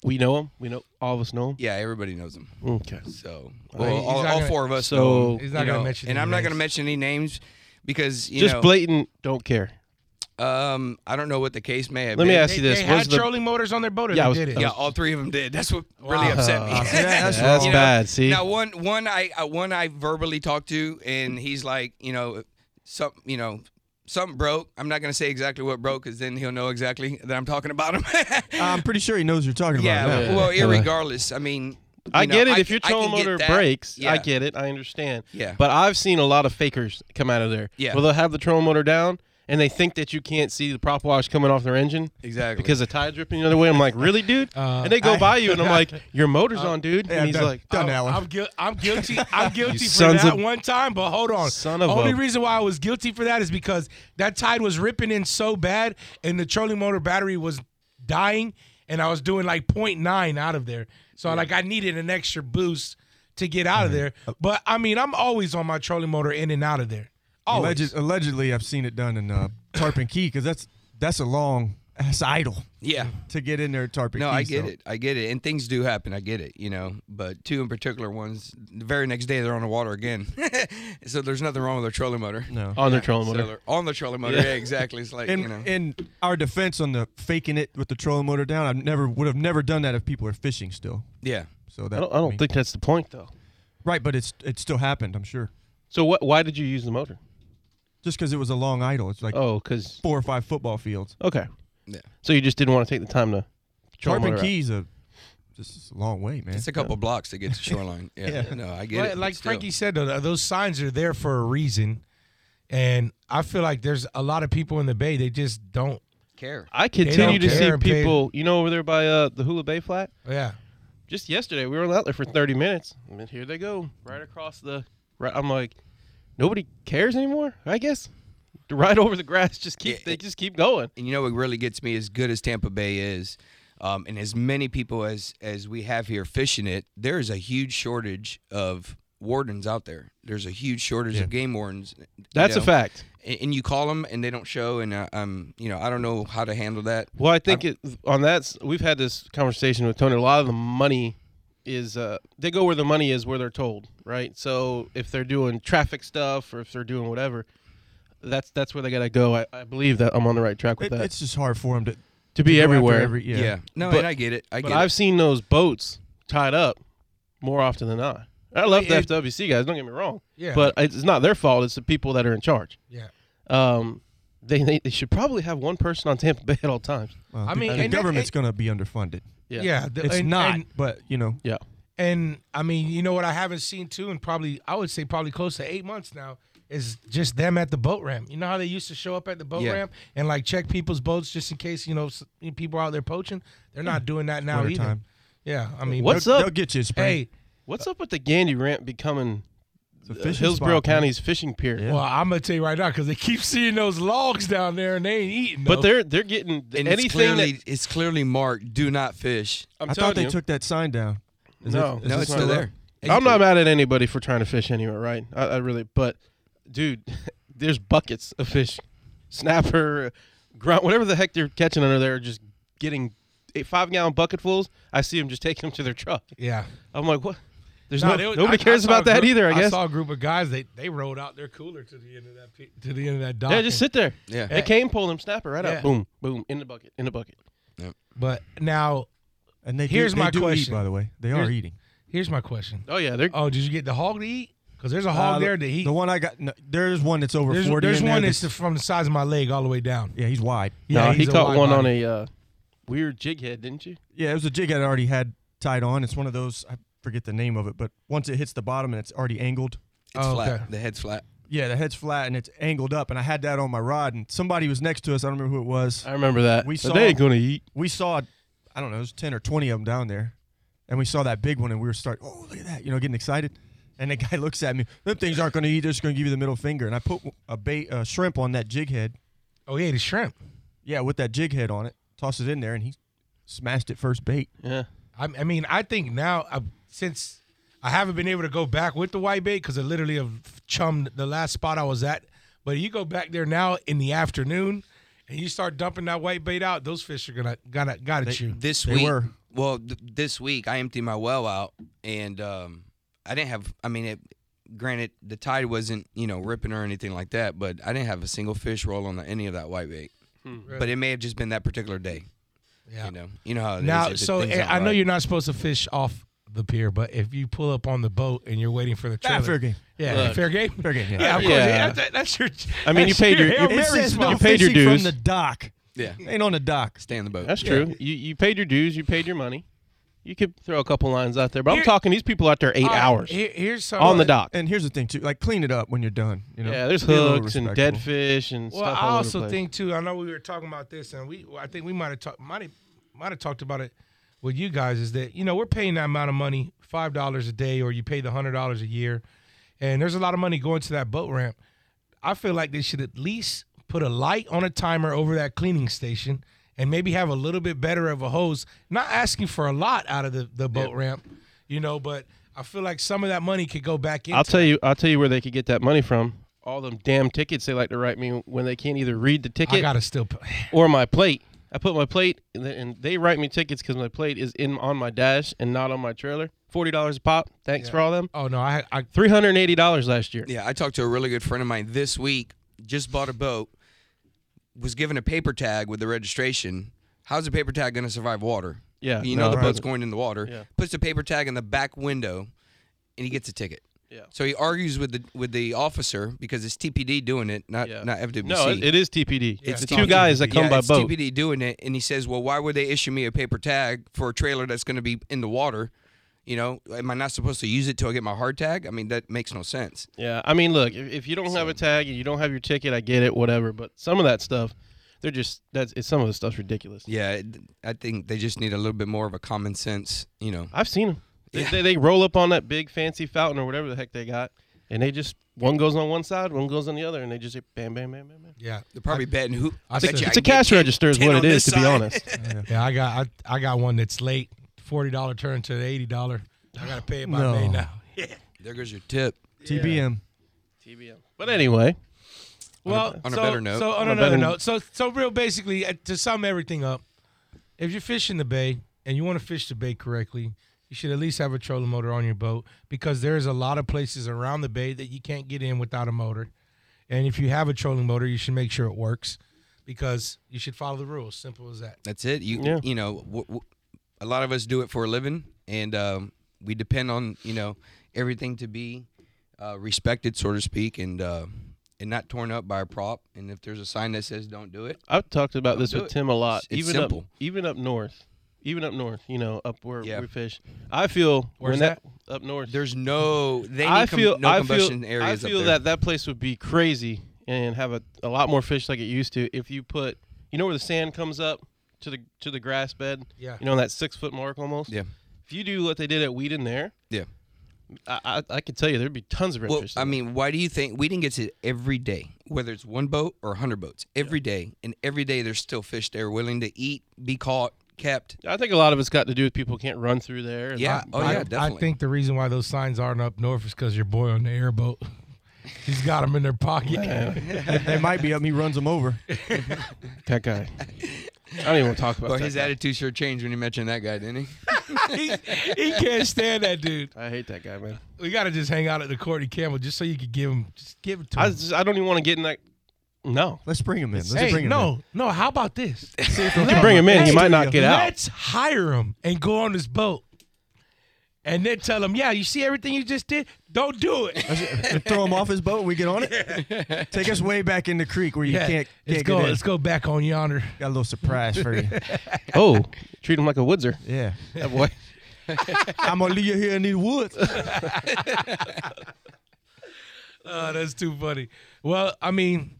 Speaker 8: we know him. We know all of us know him.
Speaker 7: yeah, everybody knows them.
Speaker 8: Okay.
Speaker 7: So,
Speaker 6: Well,
Speaker 7: well,
Speaker 6: he's
Speaker 7: all,
Speaker 6: not
Speaker 7: all
Speaker 6: gonna-
Speaker 7: four of us.
Speaker 8: so-
Speaker 7: know 'em,
Speaker 6: He's not
Speaker 7: you
Speaker 6: gonna
Speaker 7: know,
Speaker 6: mention
Speaker 7: and
Speaker 6: any
Speaker 7: I'm not going to
Speaker 6: names.
Speaker 7: mention any names because you
Speaker 8: Just
Speaker 7: know,
Speaker 8: blatant, don't care.
Speaker 7: um, I don't know what the case may have
Speaker 8: Let
Speaker 7: been.
Speaker 8: me ask
Speaker 6: They,
Speaker 8: you this:
Speaker 6: they
Speaker 8: Was
Speaker 6: had
Speaker 8: the
Speaker 6: trolling motors on their boat, or
Speaker 8: Yeah, I
Speaker 6: they
Speaker 8: was-
Speaker 6: did it.
Speaker 8: I
Speaker 7: Yeah, all three of them did. That's what really
Speaker 6: Wow.
Speaker 7: upset me.
Speaker 8: that's That's wrong. bad, see?
Speaker 7: now one one I uh, one I verbally talked to, and he's like, you know, some you know. Something broke. I'm not gonna say exactly what broke, because then he'll know exactly that I'm talking about him.
Speaker 9: I'm pretty sure he knows you're talking
Speaker 7: yeah,
Speaker 9: about.
Speaker 7: Well,
Speaker 8: Yeah.
Speaker 7: irregardless, I mean, you
Speaker 8: I
Speaker 7: know,
Speaker 8: get it. if your
Speaker 7: I can
Speaker 8: trolling
Speaker 7: get
Speaker 8: motor
Speaker 7: that.
Speaker 8: breaks,
Speaker 7: yeah.
Speaker 8: I get it. I understand.
Speaker 7: Yeah.
Speaker 8: But I've seen a lot of fakers come out of there.
Speaker 7: Yeah.
Speaker 8: Well, they'll have the trolling motor down, and they think that you can't see the prop wash coming off their engine
Speaker 7: exactly
Speaker 8: because the tide dripping the other way. I'm like, really, dude?
Speaker 6: Uh,
Speaker 8: and they go
Speaker 9: I-
Speaker 8: by you, and I'm like, your motor's on, dude.
Speaker 9: yeah,
Speaker 8: and he's
Speaker 9: done.
Speaker 8: like,
Speaker 9: Done that one.
Speaker 6: I'm, guil- I'm guilty. I'm guilty for
Speaker 8: sons
Speaker 6: that
Speaker 8: of-
Speaker 6: one time. But hold on.
Speaker 8: Son of
Speaker 6: Only
Speaker 8: a-
Speaker 6: reason why I was guilty for that is because that tide was ripping in so bad, and the trolling motor battery was dying, and I was doing like 0.9 out of there. So like I needed an extra boost to get out of there.
Speaker 8: Mm-hmm.
Speaker 6: But I mean, I'm always on my trolling motor in and out of there.
Speaker 7: Oh,
Speaker 6: Always.
Speaker 9: Alleged, allegedly, I've seen it done in uh, Tarpon Key because that's that's a long that's idle
Speaker 7: yeah.
Speaker 9: to get in there. at Tarpon
Speaker 7: No,
Speaker 9: Key,
Speaker 7: I get
Speaker 9: so.
Speaker 7: it. I get it. And things do happen. I get it, you know. But two in particular ones, the very next day they're on the water again. so there's nothing wrong with their trolling motor.
Speaker 9: No.
Speaker 8: on their trolling
Speaker 7: So
Speaker 8: motor.
Speaker 7: they're on the trolling motor. Yeah, exactly. It's like,
Speaker 9: in,
Speaker 7: you know.
Speaker 9: in our defense on the faking it with the trolling motor down, I never would have never done that if people are fishing still.
Speaker 7: yeah.
Speaker 9: So that
Speaker 8: I don't, I don't
Speaker 9: mean-
Speaker 8: think that's the point, though.
Speaker 9: right, but it's it still happened. I'm sure
Speaker 8: So what? Why did you use the motor?
Speaker 9: just because it was a long idle. It's like
Speaker 8: Oh, because
Speaker 9: four or five football fields.
Speaker 8: okay.
Speaker 7: Yeah.
Speaker 8: So you just didn't want to take the time to. trolling
Speaker 9: Tarpon
Speaker 8: motor out.
Speaker 9: Key's a just a long way, man.
Speaker 7: It's a couple blocks to get to shoreline. Yeah. No, I get
Speaker 6: Like,
Speaker 7: it. but
Speaker 6: like
Speaker 7: still.
Speaker 6: Frankie said, though, those signs are there for a reason, and I feel like there's a lot of people in the bay they just don't.
Speaker 7: care.
Speaker 8: I
Speaker 6: don't
Speaker 8: continue to see
Speaker 6: care, babe.
Speaker 8: people. You know, over there by uh, the Hula Bay Flat.
Speaker 6: Yeah.
Speaker 8: just yesterday we were out there for 30 minutes and then here they go right across the right i'm like nobody cares anymore i guess right over the grass just keep
Speaker 7: Yeah.
Speaker 8: they just keep going
Speaker 7: And you know what really gets me as good as Tampa Bay is, um, and as many people as as we have here fishing it, there is a huge shortage of wardens out there. There's a huge shortage of game wardens. you
Speaker 8: that's
Speaker 7: know.
Speaker 8: a fact
Speaker 7: and, and you call them and they don't show and uh, um you know I don't know how to handle that.
Speaker 8: well i think it, on that s- we've had this conversation with tony a lot of the money is uh they go where the money is where they're told right so if they're doing traffic stuff or if they're doing whatever that's that's where they gotta go i, I believe that i'm on the right track with
Speaker 9: It-
Speaker 8: that
Speaker 9: it's just hard for him to
Speaker 8: to be
Speaker 9: go after
Speaker 8: everywhere
Speaker 9: every-
Speaker 7: Yeah. No,
Speaker 8: But-
Speaker 7: and I get it. I get
Speaker 8: But
Speaker 7: it.
Speaker 8: I've seen those boats tied up more often than not. I love the FWC guys. Don't get me wrong.
Speaker 6: Yeah.
Speaker 8: But it's not their fault. It's the people that are in charge.
Speaker 6: Yeah.
Speaker 8: Um, they, they they should probably have one person on Tampa Bay at all times.
Speaker 9: Well,
Speaker 6: I
Speaker 9: uh, the-
Speaker 6: mean,
Speaker 9: the
Speaker 6: and that-
Speaker 9: government's going to be underfunded.
Speaker 8: Yeah.
Speaker 6: Yeah. the-
Speaker 9: It's
Speaker 6: and-
Speaker 9: not,
Speaker 6: and-
Speaker 9: but you know,
Speaker 8: Yeah.
Speaker 6: And I mean, you know what I haven't seen too, and probably I would say probably close to eight months now is just them at the boat ramp. You know how they used to show up at the boat
Speaker 7: Yeah.
Speaker 6: ramp and like check people's boats just in case you know s- people out there poaching. They're not doing that now
Speaker 9: Winter
Speaker 6: either.
Speaker 9: time.
Speaker 6: Yeah, I mean,
Speaker 8: Hmm. What's
Speaker 9: they'll,
Speaker 8: up?
Speaker 9: they'll get you a spring.
Speaker 6: Hey,
Speaker 8: What's up with the Gandy Ramp becoming
Speaker 9: It's a
Speaker 8: uh,
Speaker 9: fishing
Speaker 8: Hillsborough
Speaker 9: spot, man.
Speaker 8: County's fishing pier?
Speaker 9: Yeah.
Speaker 6: well, I'm gonna tell you right now because they keep seeing those logs down there and they ain't eating.
Speaker 8: But
Speaker 6: though.
Speaker 8: they're they're getting
Speaker 7: and
Speaker 8: anything
Speaker 7: it's clearly
Speaker 8: that
Speaker 7: it's clearly marked do not fish.
Speaker 8: I'm
Speaker 9: I
Speaker 8: telling
Speaker 9: thought they
Speaker 8: you.
Speaker 9: took that sign down. Is
Speaker 8: No.
Speaker 9: it- is
Speaker 7: No,
Speaker 9: it
Speaker 7: Oh, it's still
Speaker 9: up?
Speaker 7: there.
Speaker 8: I'm not mad at anybody for trying to fish anywhere, right? I, I really, but dude, there's buckets of fish, snapper, grunt, whatever the heck they're catching under there, just getting eight, five gallon bucketfuls. I see them just taking them to their truck.
Speaker 6: yeah.
Speaker 8: I'm like, what? There's
Speaker 6: Nah,
Speaker 8: no,
Speaker 6: they was-
Speaker 8: nobody
Speaker 6: I- I
Speaker 8: cares
Speaker 6: saw
Speaker 8: about
Speaker 6: a
Speaker 8: that
Speaker 6: group-
Speaker 8: either. I guess.
Speaker 6: saw a group of guys. They they rode out their cooler to the end of that pe- to the end of that dock.
Speaker 8: yeah, just
Speaker 6: and-
Speaker 8: sit there.
Speaker 7: Yeah.
Speaker 8: They came, pull them snapper right
Speaker 6: Yeah.
Speaker 8: out. Boom, boom, in the bucket, in the bucket.
Speaker 6: But now
Speaker 9: And they
Speaker 6: Here's
Speaker 9: do, they
Speaker 6: my
Speaker 9: do
Speaker 6: question.
Speaker 9: Eat, by the way, they are
Speaker 6: Here's-
Speaker 9: eating.
Speaker 6: here's my question.
Speaker 8: Oh yeah, they're
Speaker 6: Oh, did you get the hog to eat? Because there's a hog
Speaker 9: Uh,
Speaker 6: there to eat.
Speaker 9: The one I got. No, there's one that's over
Speaker 6: There's,
Speaker 9: forty.
Speaker 6: there's
Speaker 9: in there
Speaker 6: one that's the- from the size of my leg all the way down.
Speaker 9: yeah, he's wide.
Speaker 8: no.
Speaker 6: yeah,
Speaker 8: he
Speaker 6: he's a
Speaker 8: caught
Speaker 6: wide
Speaker 8: one on
Speaker 6: body.
Speaker 8: a uh, weird jig head, didn't you?
Speaker 9: Yeah, it was a jig I'd already had tied on. It's one of those. I forget the name of it, but once it hits the bottom and it's already angled,
Speaker 7: It's
Speaker 6: Oh,
Speaker 7: flat.
Speaker 6: okay.
Speaker 7: The head's flat.
Speaker 9: Yeah, the head's flat and it's angled up, and I had that on my rod, and somebody was next to us. I don't remember who it was.
Speaker 8: I remember that.
Speaker 9: We
Speaker 8: But
Speaker 9: saw-
Speaker 8: they ain't gonna eat.
Speaker 9: We saw, I don't know, there's ten or twenty of them down there, and we saw that big one, and we were start, oh look at that, you know, getting excited. And the guy looks at me. Them things aren't going to eat. They're just going to give you the middle finger. And I put a bait, a shrimp on that jig head.
Speaker 6: Oh, he ate a shrimp.
Speaker 9: Yeah, with that jig head on it. Toss it in there, and he smashed it first bait.
Speaker 8: Yeah.
Speaker 6: I, I mean, I think now I, since I haven't been able to go back with the white bait because I literally have chummed the last spot I was at. But you go back there now in the afternoon, and you start dumping that white bait out. Those fish are gonna gotta gotta chew.
Speaker 7: This
Speaker 9: They
Speaker 7: week,
Speaker 9: were.
Speaker 7: well, th- this week I emptied my well out, and um, I didn't have. I mean, it, granted, the tide wasn't you know ripping or anything like that, but I didn't have a single fish roll on any of that white bait. But it may have just been that particular day.
Speaker 6: Yeah.
Speaker 7: You know, you know how it is.
Speaker 6: now,
Speaker 7: If it-
Speaker 6: so
Speaker 7: things
Speaker 6: eh,
Speaker 7: aren't
Speaker 6: I know
Speaker 7: right.
Speaker 6: you're not supposed to fish off the pier, but if you pull up on the boat and you're waiting for the
Speaker 9: Ah,
Speaker 6: trailer,
Speaker 9: fair game.
Speaker 6: yeah,
Speaker 8: Look.
Speaker 6: fair game,
Speaker 9: Fair game, yeah.
Speaker 6: of course.
Speaker 8: Yeah.
Speaker 6: yeah, that- that's your.
Speaker 8: I mean, you
Speaker 6: that's
Speaker 8: paid your-
Speaker 6: Hail
Speaker 8: you-
Speaker 9: It
Speaker 6: Mary
Speaker 9: says
Speaker 6: spot.
Speaker 9: no
Speaker 8: You paid your
Speaker 9: fishing
Speaker 8: dues.
Speaker 9: from the dock.
Speaker 7: Yeah,
Speaker 9: Ain't on the dock.
Speaker 7: stay in the boat.
Speaker 8: That's true. You you paid your dues. You paid your money. You could throw a couple lines out there, but
Speaker 6: Here-
Speaker 8: I'm talking these people out there eight
Speaker 6: Uh,
Speaker 8: hours
Speaker 6: here- here's some
Speaker 8: on the dock.
Speaker 9: And here's the thing too, like clean it up when you're done. You know,
Speaker 8: yeah, there's
Speaker 9: Be a little
Speaker 8: hooks and dead
Speaker 9: respectful.
Speaker 8: fish and
Speaker 6: Well,
Speaker 8: stuff.
Speaker 6: I
Speaker 8: all over the
Speaker 6: also
Speaker 8: place.
Speaker 6: think too. I know we were talking about this, and we I think we might have talked might have might have talked about it with you guys. Is that you know we're paying that amount of money, five dollars a day, or you pay the hundred dollars a year, and there's a lot of money going to that boat ramp. I feel like they should at least put a light on a timer over that cleaning station, and maybe have a little bit better of a hose. Not asking for a lot out of the the boat ramp, you know, but I feel like some of that money could go back into.
Speaker 8: I'll tell you. I'll tell you where they could get that money from. All them damn tickets they like to write me when they can't either read the
Speaker 6: I
Speaker 8: ticket
Speaker 6: gotta still. p-
Speaker 8: or my plate. I put my plate and they, and they write me tickets because my plate is in on my dash and not on my trailer. Forty dollars a pop. Thanks for all them.
Speaker 6: Oh no, I I
Speaker 8: Three hundred and eighty dollars last year.
Speaker 7: Yeah, I talked to a really good friend of mine this week. Just bought a boat. Was given a paper tag with the registration. How's a paper tag going to survive water?
Speaker 8: Yeah,
Speaker 7: you know
Speaker 8: no,
Speaker 7: the
Speaker 8: right.
Speaker 7: boat's going in the water.
Speaker 8: Yeah.
Speaker 7: Puts the paper tag in the back window, and he gets a ticket.
Speaker 8: Yeah.
Speaker 7: So he argues with the with the officer because it's TPD doing it, not
Speaker 8: Yeah.
Speaker 7: not FWC.
Speaker 8: No, it, it is TPD.
Speaker 6: Yeah,
Speaker 8: it's
Speaker 6: it's
Speaker 8: the two guys that come
Speaker 7: yeah,
Speaker 8: by
Speaker 7: it's
Speaker 8: boat.
Speaker 7: TPD doing it, and he says, "Well, why would they issue me a paper tag for a trailer that's going to be in the water? You know, am I not supposed to use it till I get my hard tag? I mean, that makes no sense."
Speaker 8: Yeah, I mean, look, if, if you don't have a tag and you don't have your ticket, I get it, whatever. But some of that stuff, they're just that's it's, some of the stuff's ridiculous.
Speaker 7: Yeah, it- I think they just need a little bit more of a common sense, you know.
Speaker 8: I've seen them. They,
Speaker 7: Yeah.
Speaker 8: they, they roll up on that big fancy fountain or whatever the heck they got, and they just one goes on one side, one goes on the other, and they just hit bam, bam, bam, bam, bam.
Speaker 6: yeah.
Speaker 7: They're probably betting who.
Speaker 6: I
Speaker 7: bet
Speaker 6: said-
Speaker 7: you I
Speaker 8: It's a
Speaker 7: can get
Speaker 8: cash
Speaker 7: 10
Speaker 8: register, is
Speaker 7: 10
Speaker 8: what
Speaker 7: on
Speaker 8: it is,
Speaker 7: this
Speaker 8: to be
Speaker 7: side.
Speaker 8: honest.
Speaker 6: Yeah, I got I, I got one that's late, forty dollar turn to the eighty dollar. I gotta pay it by
Speaker 9: No.
Speaker 6: May now.
Speaker 7: There goes your tip.
Speaker 9: TBM.
Speaker 8: TBM. But anyway,
Speaker 6: Well,
Speaker 7: on a
Speaker 6: so,
Speaker 7: better note.
Speaker 6: So on,
Speaker 8: On a
Speaker 6: another
Speaker 8: better-
Speaker 6: note, so so real basically uh, to sum everything up, if you're fishing the bay and you want to fish the bay correctly, you should at least have a trolling motor on your boat because there's a lot of places around the bay that you can't get in without a motor. And if you have a trolling motor, you should make sure it works because you should follow the rules. Simple as that.
Speaker 7: That's it. You
Speaker 8: Yeah.
Speaker 7: you know, w- w- a lot of us do it for a living, and um, we depend on you know everything to be uh, respected, so to speak, and uh, and not torn up by a prop. And if there's a sign that says "Don't do it,"
Speaker 8: I've talked about this
Speaker 7: do
Speaker 8: with
Speaker 7: it.
Speaker 8: Tim a lot.
Speaker 7: It's- it's
Speaker 8: even up,
Speaker 7: simple.
Speaker 8: even up north, even up north, you know, up where
Speaker 7: Yeah.
Speaker 8: we fish. I feel
Speaker 6: Where's
Speaker 8: when that, up north.
Speaker 7: there's no they need
Speaker 8: I
Speaker 7: com-
Speaker 8: feel
Speaker 7: no
Speaker 8: I
Speaker 7: combustion
Speaker 8: feel
Speaker 7: areas
Speaker 8: I feel
Speaker 7: up there.
Speaker 8: that that place would be crazy and have a, a lot more fish like it used to if you put you know where the sand comes up to the to the grass bed
Speaker 6: Yeah.
Speaker 8: you know that six foot mark almost
Speaker 7: Yeah.
Speaker 8: if you do what they did at Wheaton there
Speaker 7: Yeah.
Speaker 8: I I, I could tell you there'd be tons of redfish
Speaker 7: Well,
Speaker 8: in
Speaker 7: I
Speaker 8: there.
Speaker 7: mean, why do you think we didn't get to every day, whether it's one boat or hundred boats, every day, and every day there's still fish there willing to eat, be caught, kept.
Speaker 8: I think a lot of it's got to do with people can't run through there and-
Speaker 7: Yeah. oh
Speaker 6: I,
Speaker 7: yeah,
Speaker 6: I
Speaker 7: definitely.
Speaker 6: think the reason why those signs aren't up north is because your boy on the airboat, he's got them in their pocket.
Speaker 9: They might be up. and He runs them over.
Speaker 8: that guy I don't even want to talk about
Speaker 7: Well,
Speaker 8: that
Speaker 7: his
Speaker 8: guy.
Speaker 7: attitude sure changed when you mentioned that guy, didn't he?
Speaker 6: he can't stand that dude.
Speaker 8: I hate that guy man
Speaker 6: We gotta just hang out at the Courtney Campbell just so you could give him, just give it to
Speaker 8: I
Speaker 6: him.
Speaker 8: just, I don't even want to get in that no
Speaker 9: Let's bring him in. Let's
Speaker 6: hey,
Speaker 9: bring him
Speaker 6: no, no. How about this?
Speaker 9: in. See if he'll
Speaker 8: you
Speaker 9: come
Speaker 8: bring
Speaker 9: up.
Speaker 8: him in he
Speaker 6: Hey,
Speaker 8: might not get out
Speaker 6: Let's hire him and go on this boat, and then tell him, yeah, you see everything you just did? Don't do it.
Speaker 9: And throw him off his boat. We get on it. Take us way back in the creek where you
Speaker 6: Yeah,
Speaker 9: can't,
Speaker 6: let's
Speaker 9: can't
Speaker 6: go.
Speaker 9: get in.
Speaker 6: Let's go back on yonder.
Speaker 9: Got a little surprise for you.
Speaker 8: oh treat him like a woodser
Speaker 9: Yeah.
Speaker 8: that boy
Speaker 9: I'm gonna leave you here in these woods.
Speaker 6: Oh, that's too funny. Well, I mean,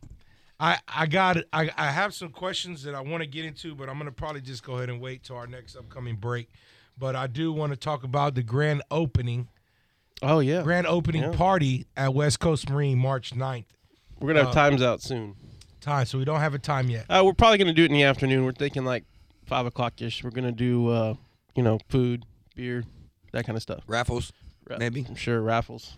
Speaker 6: I I got I I have some questions that I want to get into, but I'm gonna probably just go ahead and wait till our next upcoming break. But I do want to talk about the grand opening,
Speaker 8: Oh yeah,
Speaker 6: grand opening
Speaker 8: Yeah.
Speaker 6: party at West Coast Marine March 9th.
Speaker 8: we're gonna have times out soon.
Speaker 6: Time, so we don't have a time yet.
Speaker 8: Uh, we're probably gonna do it in the afternoon. We're thinking like five o'clock ish. We're gonna do uh, you know food, beer, that kind of stuff.
Speaker 7: Raffles,
Speaker 8: Ra-
Speaker 7: maybe
Speaker 8: I'm sure raffles.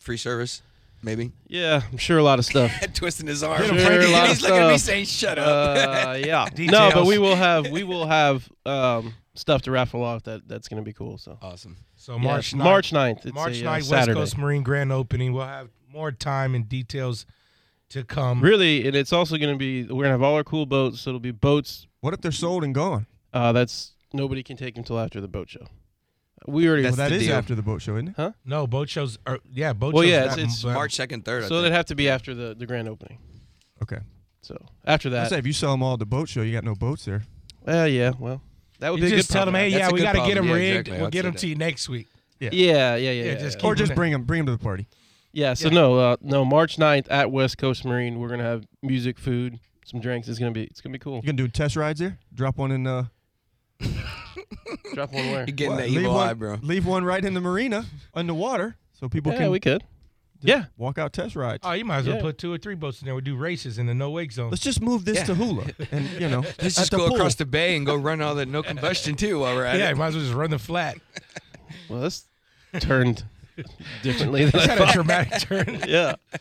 Speaker 7: free service, maybe.
Speaker 8: Yeah, I'm sure a lot of stuff.
Speaker 7: Twisting his arm.
Speaker 8: Sure, a lot
Speaker 7: he's
Speaker 8: of
Speaker 7: looking at me
Speaker 8: stuff.
Speaker 7: saying, "Shut up."
Speaker 8: Uh, yeah. No,
Speaker 6: Details.
Speaker 8: but we will have we will have um, stuff to raffle off. That that's gonna be cool. So
Speaker 7: awesome.
Speaker 6: So March
Speaker 8: Yeah,
Speaker 6: 9th,
Speaker 8: March 9th. It's
Speaker 6: March
Speaker 8: a, uh,
Speaker 6: 9th, West
Speaker 8: Saturday.
Speaker 6: Coast Marine grand opening. We'll have more time and details to come.
Speaker 8: Really, and it's also gonna be we're gonna have all our cool boats. So it'll be boats.
Speaker 9: What if they're sold and gone?
Speaker 8: Uh, that's nobody can take until after the boat show. We already
Speaker 7: That's
Speaker 9: Well, that
Speaker 7: the
Speaker 9: is
Speaker 7: deal.
Speaker 9: after the boat show, isn't it?
Speaker 6: No boat shows are yeah boat
Speaker 8: Well,
Speaker 6: shows.
Speaker 8: yeah,
Speaker 6: not-
Speaker 8: it's- it's
Speaker 6: but-
Speaker 7: March second, third.
Speaker 8: so it'd have to be after the the grand opening.
Speaker 9: Okay.
Speaker 8: So after
Speaker 9: I
Speaker 8: that,
Speaker 9: say if you sell them all at the boat show, you got no boats there.
Speaker 8: well, yeah, well, that would
Speaker 6: You
Speaker 8: be a
Speaker 6: just
Speaker 8: good
Speaker 6: tell them,
Speaker 8: problem.
Speaker 6: hey,
Speaker 7: That's
Speaker 6: yeah,
Speaker 7: a
Speaker 6: we
Speaker 7: good
Speaker 6: got to get them
Speaker 7: problem. Yeah,
Speaker 6: rigged.
Speaker 7: exactly.
Speaker 6: We'll
Speaker 7: I'd
Speaker 6: get
Speaker 7: say
Speaker 6: them
Speaker 7: that.
Speaker 6: to you next week.
Speaker 8: yeah, yeah, yeah, yeah,
Speaker 6: Yeah,
Speaker 8: yeah,
Speaker 6: just
Speaker 8: yeah.
Speaker 6: keep
Speaker 9: Or just
Speaker 6: them
Speaker 9: bring them, bring them to the party.
Speaker 8: Yeah, So no, uh, no, March 9th at West Coast Marine, we're gonna have music, food, some drinks. It's gonna be it's gonna be cool.
Speaker 9: You gonna do test rides there? Drop one in. Uh,
Speaker 8: Drop one where?
Speaker 7: You're getting
Speaker 9: what?
Speaker 7: that
Speaker 9: leave
Speaker 7: evil
Speaker 9: one,
Speaker 7: eye, bro.
Speaker 9: Leave one right in the marina underwater, so people
Speaker 8: Yeah,
Speaker 9: can
Speaker 8: we could. Yeah,
Speaker 9: walk out test rides.
Speaker 6: Oh, you might as well
Speaker 8: Yeah.
Speaker 6: put two or three boats in there. We do races in the no wake zone.
Speaker 9: Let's just move this to hula, and you know,
Speaker 7: Let's
Speaker 9: at
Speaker 7: just
Speaker 9: the
Speaker 7: go
Speaker 9: pool.
Speaker 7: across the bay and go run all that no combustion too while we're at
Speaker 6: Yeah,
Speaker 7: it.
Speaker 6: you might as well just run the flat.
Speaker 8: well, that's turned differently than I
Speaker 6: Had a
Speaker 8: thought.
Speaker 6: dramatic turn.
Speaker 8: Yeah.
Speaker 6: All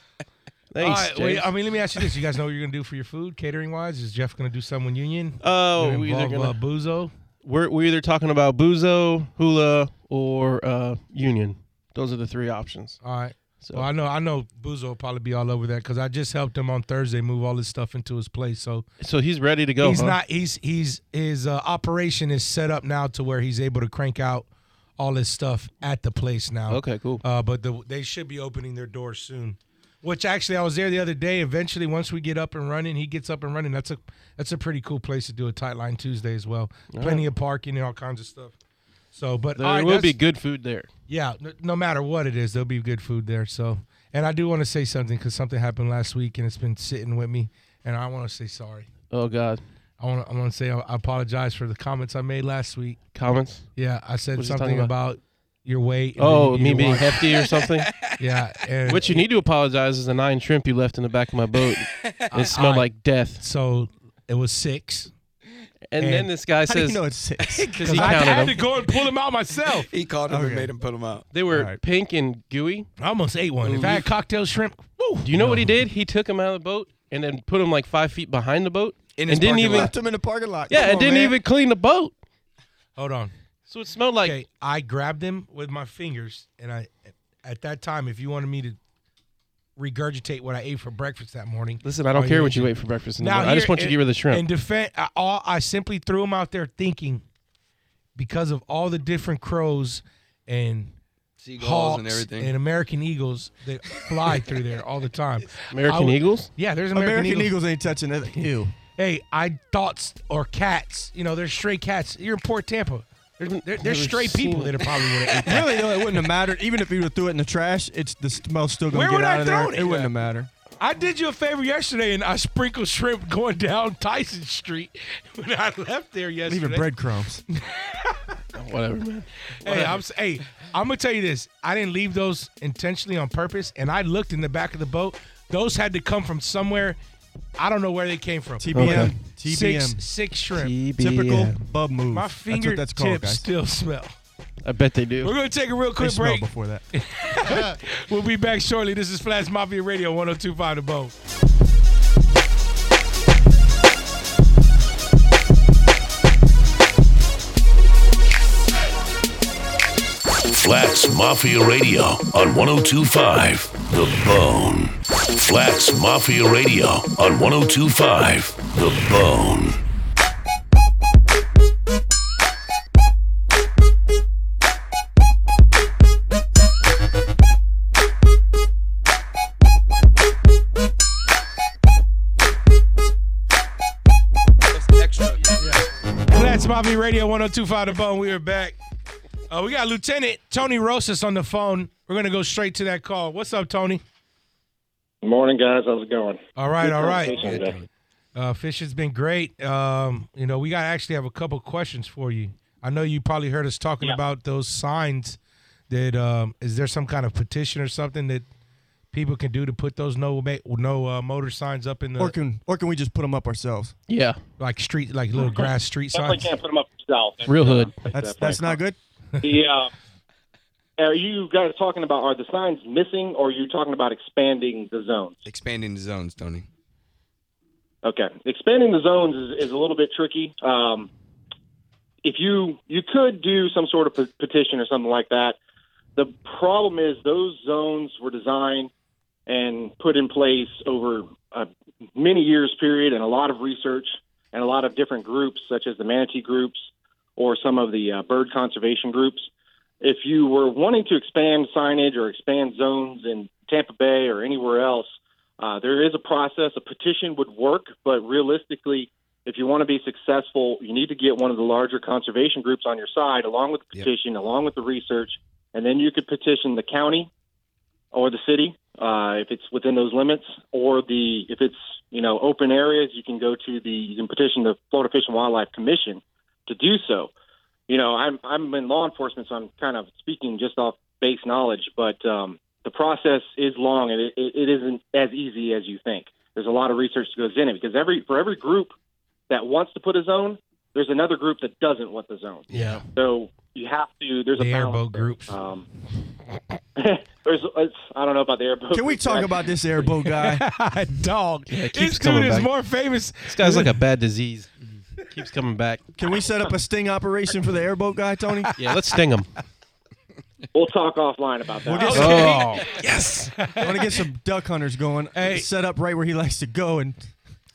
Speaker 8: Thanks,
Speaker 6: right, wait,
Speaker 8: James.
Speaker 6: I mean, let me ask you this: You guys know what you're gonna do for your food, catering wise? Is Jeff gonna do some when Union?
Speaker 8: Oh,
Speaker 6: Gonna
Speaker 8: we either
Speaker 6: involve,
Speaker 8: gonna,
Speaker 6: uh, Buzo.
Speaker 8: we're we're either talking about Buzo, Hula, or uh, Union. Those are the three options.
Speaker 6: All right.
Speaker 8: So
Speaker 6: Well, I know, I know, Buzo will probably be all over that because I just helped him on Thursday move all his stuff into his place. So
Speaker 8: so he's ready to go.
Speaker 6: he's
Speaker 8: huh?
Speaker 6: not he's he's his uh, operation is set up now to where he's able to crank out all his stuff at the place now.
Speaker 8: Okay, cool.
Speaker 6: Uh, but the, they should be opening their doors soon. Which actually, I was there the other day. Eventually, once we get up and running, he gets up and running. That's a that's a pretty cool place to do a tight line Tuesday as well. Plenty of parking and all kinds of stuff. So, but
Speaker 8: There
Speaker 6: all right,
Speaker 8: will be
Speaker 6: that's-
Speaker 8: good food there.
Speaker 6: yeah, no, no matter what it is, there'll be good food there. So, and I do want to say something because something happened last week and it's been sitting with me, and I want to say sorry.
Speaker 8: Oh God,
Speaker 6: I want to I want to say uh, I I apologize for the comments I made last week.
Speaker 8: comments.
Speaker 6: Yeah, I said
Speaker 8: What's he
Speaker 6: something
Speaker 8: talking
Speaker 6: about? your weight. and
Speaker 8: Oh,
Speaker 6: that you
Speaker 8: me
Speaker 6: need to
Speaker 8: being
Speaker 6: watch-
Speaker 8: hefty or something.
Speaker 6: yeah. And
Speaker 8: what you need to apologize is the nine shrimp you left in the back of my boat. It smelled
Speaker 6: I-
Speaker 8: like death.
Speaker 6: so it was six.
Speaker 8: And,
Speaker 6: And-
Speaker 8: then this guy
Speaker 9: How do
Speaker 8: says
Speaker 9: you know it's six?
Speaker 8: 'cause he counted them.
Speaker 6: go and pull them out myself.
Speaker 7: He called him and
Speaker 9: Okay.
Speaker 7: made him put him out.
Speaker 8: They were
Speaker 9: Alright.
Speaker 8: pink and gooey.
Speaker 6: I almost ate one. If I had cocktail shrimp, woo.
Speaker 8: Do you know what he did? He took them out of the boat and then put them like five feet behind the boat
Speaker 7: In his
Speaker 8: and didn't
Speaker 7: parking
Speaker 8: even
Speaker 7: lot.
Speaker 9: Left them in the parking lot.
Speaker 8: yeah,
Speaker 9: Come
Speaker 8: and
Speaker 9: on,
Speaker 8: didn't
Speaker 9: man.
Speaker 8: even clean the boat.
Speaker 6: Hold on.
Speaker 8: So it smelled like
Speaker 6: Okay, I grabbed them with my fingers, and I, at that time, if you wanted me to regurgitate what I ate for breakfast that morning,
Speaker 8: Listen, I don't
Speaker 6: Oh,
Speaker 8: care
Speaker 6: you
Speaker 8: what you
Speaker 6: did.
Speaker 8: ate for breakfast in the morning. I just
Speaker 6: here-
Speaker 8: want you to
Speaker 6: in-
Speaker 8: get rid of the
Speaker 6: In
Speaker 8: shrimp.
Speaker 6: defense, I, all, I simply threw them out there thinking, because of all the different crows and
Speaker 7: Seagulls
Speaker 6: hawks
Speaker 7: and everything.
Speaker 6: American eagles that fly through there all the time. I
Speaker 8: American
Speaker 6: would-
Speaker 8: Eagles?
Speaker 6: Yeah, there's American,
Speaker 9: American,
Speaker 6: eagles.
Speaker 9: Eagles. ain't touching it. Ew.
Speaker 6: Hey, I thoughts or cats. You know, there's stray cats. You're in Port Tampa. There's, there,
Speaker 8: never
Speaker 6: there's stray
Speaker 8: seen
Speaker 6: people
Speaker 8: it.
Speaker 6: that are probably would have ate that.
Speaker 9: really though, it wouldn't have mattered. Even if you would threw it in the trash, it's the smell's still gonna
Speaker 6: Where
Speaker 9: get
Speaker 6: would
Speaker 9: out
Speaker 6: I
Speaker 9: of there.
Speaker 6: thrown it?
Speaker 9: It wouldn't have mattered.
Speaker 6: I did you a favor yesterday, and I sprinkled shrimp going down Tyson Street when I left there yesterday.
Speaker 9: Leaving breadcrumbs.
Speaker 8: Whatever, man.
Speaker 6: Hey, I'm s- hey, I'm gonna tell you this. I didn't leave those intentionally on purpose, and I looked in the back of the boat. Those had to come from somewhere. I don't know where they came from.
Speaker 9: TBM.
Speaker 8: Okay.
Speaker 9: TBM.
Speaker 6: Six six shrimp.
Speaker 9: Typical bub move.
Speaker 6: My
Speaker 9: That's what
Speaker 6: fingertips
Speaker 9: that's called, guys.
Speaker 6: still smell.
Speaker 8: I bet they
Speaker 6: We're
Speaker 8: do.
Speaker 6: gonna take a real
Speaker 9: They
Speaker 6: quick
Speaker 9: smell
Speaker 6: break.
Speaker 9: before that.
Speaker 6: We'll be back shortly. This is Flash Mafia Radio 1025 The Bone.
Speaker 4: Flats Mafia Radio on 1025 The Bone. Flats Mafia Radio on 1025 The Bone.
Speaker 7: Extra.
Speaker 6: Flats Mafia Radio 1025 The Bone. We are back. Uh, we got Lieutenant Tony Rosas on the phone. We're gonna go straight to that call. What's up, Tony?
Speaker 8: Morning, guys. How's it going?
Speaker 6: All right,
Speaker 8: Good
Speaker 6: all right.
Speaker 8: conversation today.
Speaker 6: Uh, Fish has been great. Um, you know, we got actually have a couple questions for you. I know you probably heard us talking about those signs. That um, is there some kind of petition or something that people can do to put those no ma- no uh, motor signs up in the
Speaker 9: Or can or can we just put them up ourselves?
Speaker 10: Yeah,
Speaker 6: like street like little grass street
Speaker 8: Definitely
Speaker 6: signs?
Speaker 8: can't put them up yourself.
Speaker 10: real hood.
Speaker 9: That's that's not good.
Speaker 8: uh, The, uh, are you guys talking about are the signs missing, or are you talking about expanding the zones?
Speaker 7: Expanding the zones, Tony.
Speaker 8: Okay, expanding the zones is, is a little bit tricky. Um, if you you could do some sort of pe- petition or something like that, the problem is those zones were designed and put in place over a many years period and a lot of research and a lot of different groups, such as the manatee groups or some of the uh, bird conservation groups. If you were wanting to expand signage or expand zones in Tampa Bay or anywhere else, uh, there is a process. A petition would work, but realistically, if you want to be successful, you need to get one of the larger conservation groups on your side, along with the
Speaker 7: Yep.
Speaker 8: petition, along with the research, and then you could petition the county or the city uh, if it's within those limits, or the if it's you know open areas, you can go to the you can petition the Florida Fish and Wildlife Commission to do so. You know, I'm I'm in law enforcement, so I'm kind of speaking just off base knowledge, but um, the process is long and it, it it isn't as easy as you think. There's a lot of research that goes in it because every for every group that wants to put a zone, there's another group that doesn't want the zone.
Speaker 6: Yeah,
Speaker 8: So you have to. There's
Speaker 6: the
Speaker 8: a balance.
Speaker 6: airboat groups.
Speaker 8: Um, there's it's, I don't know about the airboat.
Speaker 9: Can we
Speaker 8: groups, but
Speaker 9: talk
Speaker 8: I-
Speaker 9: about this airboat guy?
Speaker 6: Dog,
Speaker 10: it keeps
Speaker 6: this dude
Speaker 10: coming
Speaker 6: is
Speaker 10: back.
Speaker 6: more famous.
Speaker 10: This guy's like a bad disease. Keeps coming back.
Speaker 9: Can we set up a sting operation for the airboat guy, Tony?
Speaker 10: Yeah, let's sting him.
Speaker 8: We'll talk offline about that.
Speaker 9: get
Speaker 10: Oh,
Speaker 6: Yes.
Speaker 9: I want to get some duck hunters going.
Speaker 6: Hey.
Speaker 9: Set up right where he likes to go and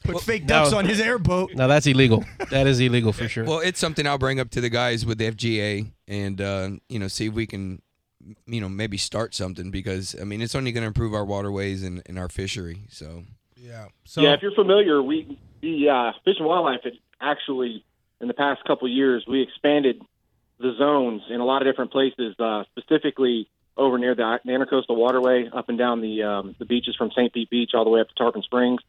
Speaker 9: put fake ducks
Speaker 10: no.
Speaker 9: on his airboat.
Speaker 10: now that's illegal. That is illegal for sure.
Speaker 7: Well, it's something I'll bring up to the guys with the FGA and uh, you know see if we can you know maybe start something because I mean it's only going to improve our waterways and, and our fishery. So
Speaker 6: yeah. So
Speaker 8: yeah, if you're familiar, we the uh, Fish and Wildlife had actually in the past couple of years we expanded the zones in a lot of different places, uh, specifically over near the, the Intercoastal Waterway, up and down the um, the beaches from St. Pete Beach all the way up to Tarpon Springs.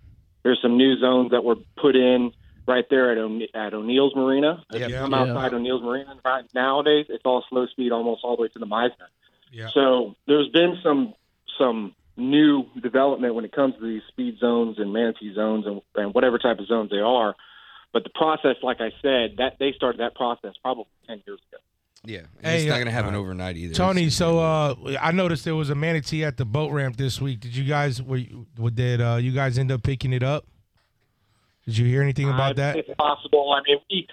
Speaker 8: There's some new zones that were put in right there at, O'Ne- at O'Neill's Marina. If you
Speaker 6: Yeah.
Speaker 8: come outside O'Neill's Marina right nowadays, it's all slow speed almost all the way to the Meisner.
Speaker 6: Yeah.
Speaker 8: So there's been some some new development when it comes to these speed zones and manatee zones and, and whatever type of zones they are. But the process, like I said, that they started that process probably ten years ago.
Speaker 7: yeah, and
Speaker 6: Hey,
Speaker 7: it's not
Speaker 6: uh,
Speaker 7: going to happen overnight either.
Speaker 6: Tony,
Speaker 7: It's-
Speaker 6: so uh, I noticed there was a manatee at the boat ramp this week. Did you guys were you, did uh, you guys end up picking it up? Did you hear anything about
Speaker 8: Uh,
Speaker 6: that?
Speaker 8: If possible, I mean, we,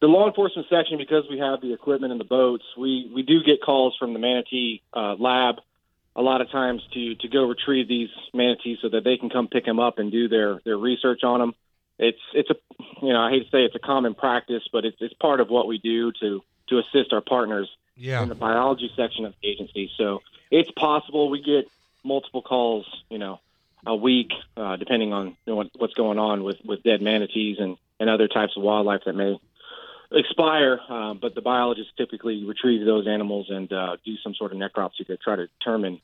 Speaker 8: the law enforcement section, because we have the equipment and the boats, we we do get calls from the manatee uh, lab a lot of times to to go retrieve these manatees so that they can come pick them up and do their their research on them. It's it's a you know I hate to say it's a common practice, but it's it's part of what we do to to assist our partners
Speaker 6: Yeah.
Speaker 8: in the biology section of the agency. So it's possible we get multiple calls, you know, a week, uh, depending on you know, what, what's going on with, with dead manatees and, and other types of wildlife that may expire. Uh, but the biologists typically retrieve those animals and uh, do some sort of necropsy to try to determine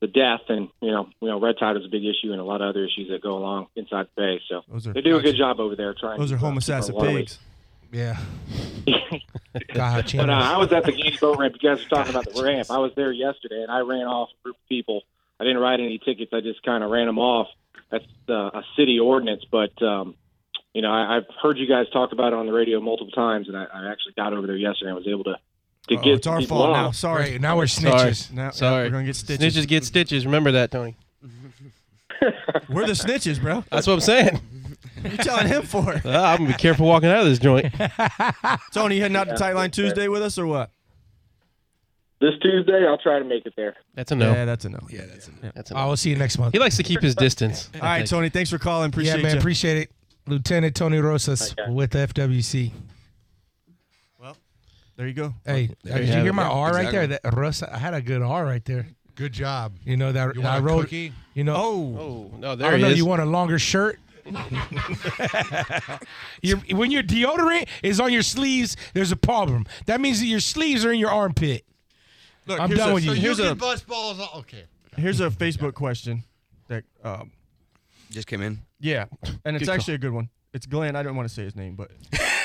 Speaker 8: the death. And, you know, you know, red tide is a big issue and a lot of other issues that go along inside the bay. So
Speaker 9: Those are
Speaker 8: they do a good job over there trying
Speaker 9: those
Speaker 8: to,
Speaker 9: are
Speaker 8: uh,
Speaker 9: homo
Speaker 8: keep our
Speaker 9: assassin
Speaker 8: waterways
Speaker 9: pigs.
Speaker 6: Yeah. God,
Speaker 8: but uh,
Speaker 6: Chandler.
Speaker 8: I was at the Gaines boat ramp. You guys were talking about the ramp. I was there yesterday, and I ran off a group of people. I didn't write any tickets. I just kind of ran them off. That's uh, a city ordinance, but um, you know, I, I've heard you guys talk about it on the radio multiple times, and I, I actually got over there yesterday. and was able to to
Speaker 9: Oh,
Speaker 8: get
Speaker 9: it's our
Speaker 8: people
Speaker 9: fault now.
Speaker 8: off.
Speaker 9: Sorry.
Speaker 6: Right, now we're
Speaker 10: Sorry.
Speaker 6: snitches.
Speaker 9: Now,
Speaker 10: Sorry.
Speaker 9: we're gonna get stitches.
Speaker 10: Snitches get stitches. Remember that, Tony.
Speaker 9: We're the snitches, bro.
Speaker 10: That's what I'm saying.
Speaker 9: You're telling him for it.
Speaker 10: Ah, I'm gonna be careful walking out of this joint.
Speaker 9: Tony, you heading out to Tightline Tuesday with us or what?
Speaker 8: This Tuesday, I'll try to make it there.
Speaker 10: That's a no.
Speaker 9: Yeah, that's a no.
Speaker 7: yeah, that's it.
Speaker 10: That's a
Speaker 6: I
Speaker 10: no.
Speaker 6: will Oh, see you next month.
Speaker 10: He likes to keep his distance.
Speaker 9: All right, Tony. Thanks for calling. Appreciate
Speaker 6: yeah, man,
Speaker 9: you.
Speaker 6: appreciate it. Lieutenant Tony Rosas
Speaker 8: Okay.
Speaker 6: with FWC.
Speaker 9: there you go.
Speaker 6: Hey, did
Speaker 10: you
Speaker 6: you
Speaker 10: have
Speaker 6: hear
Speaker 10: it.
Speaker 6: my R right there?
Speaker 7: Exactly.
Speaker 6: That Rosa, I had a good R right there.
Speaker 11: Good job.
Speaker 6: You know that
Speaker 11: You
Speaker 6: I
Speaker 11: want a
Speaker 6: wrote.
Speaker 11: cookie?
Speaker 6: You know,
Speaker 9: Oh,
Speaker 10: Oh no,
Speaker 6: I
Speaker 10: there
Speaker 6: don't
Speaker 10: he
Speaker 6: know.
Speaker 10: is.
Speaker 6: You want a longer shirt? your, when your deodorant is on your sleeves, there's a problem. That means that your sleeves are in your armpit.
Speaker 9: look,
Speaker 6: I'm
Speaker 9: here's
Speaker 6: done
Speaker 9: a,
Speaker 6: with you.
Speaker 11: You
Speaker 9: Here's
Speaker 11: can
Speaker 9: a
Speaker 11: bust balls. all- Okay.
Speaker 9: here's a Facebook question. that um,
Speaker 7: Just came in.
Speaker 9: yeah, and it's
Speaker 8: Good call.
Speaker 9: actually a good one. It's Glenn. I don't want to say his name, but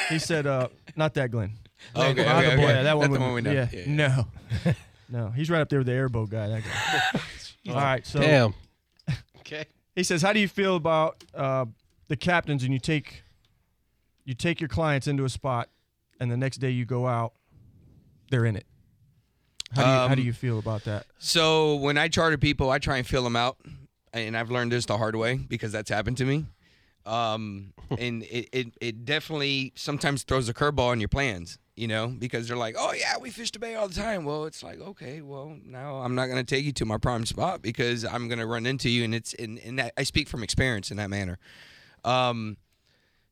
Speaker 9: he said uh, not that Glenn.
Speaker 7: Okay, okay,
Speaker 9: Other
Speaker 7: okay.
Speaker 9: boy, that one.
Speaker 7: That's the
Speaker 9: would-
Speaker 7: one we know.
Speaker 9: Yeah,
Speaker 7: Yeah, yeah.
Speaker 9: no, no, he's right up there with the airboat guy. That guy. All right, so
Speaker 8: Damn. okay.
Speaker 9: he says, "How do you feel about uh, the captains? And you take you take your clients into a spot, and the next day you go out, they're in it. How do you, how
Speaker 7: Um,
Speaker 9: do you feel about that?
Speaker 7: So when I charter people, I try and fill them out, and I've learned this the hard way because that's happened to me. Um, and it, it it definitely sometimes throws a curveball in your plans, you know, because they're like, oh yeah, we fish the bay all the time. Well, it's like, okay, well now I'm not gonna take you to my prime spot because I'm gonna run into you, and it's and, and that, I speak from experience in that manner. Um,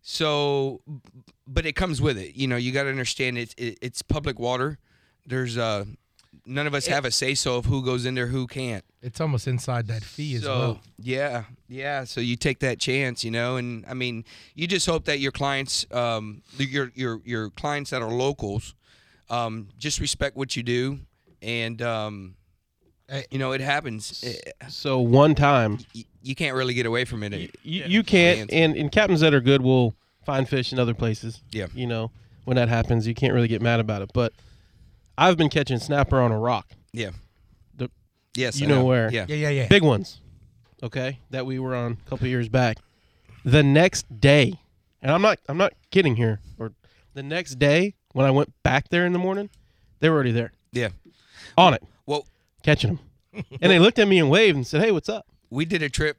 Speaker 7: so, b- but it comes with it, you know. You got to understand it's it, it's public water. There's uh, none of us have a say so of who goes in there, who can't.
Speaker 6: It's almost inside that fee as
Speaker 7: so
Speaker 6: well.
Speaker 7: yeah, yeah. So you take that chance, you know, and I mean, you just hope that your clients, um, your your your clients that are locals, um, just respect what you do, and um, you know, it happens. It-
Speaker 8: So one time
Speaker 7: you- you can't really get away from it.
Speaker 8: you, you can't
Speaker 7: Yeah.
Speaker 8: and, and captains that are good will find fish in other places
Speaker 7: Yeah.
Speaker 8: you know when that happens you can't really get mad about it but i've been catching snapper on a rock
Speaker 7: Yeah.
Speaker 8: The-
Speaker 7: yes,
Speaker 8: you
Speaker 7: I
Speaker 8: know where.
Speaker 7: Yeah.
Speaker 6: Yeah, yeah, yeah.
Speaker 8: big ones okay that we were on a couple years back the next day and i'm not i'm not kidding here or the next day when i went back there in the morning they were already there
Speaker 7: Yeah.
Speaker 8: on it
Speaker 7: Well,
Speaker 8: catching them and they looked at me and waved and said hey what's up
Speaker 7: we did a trip,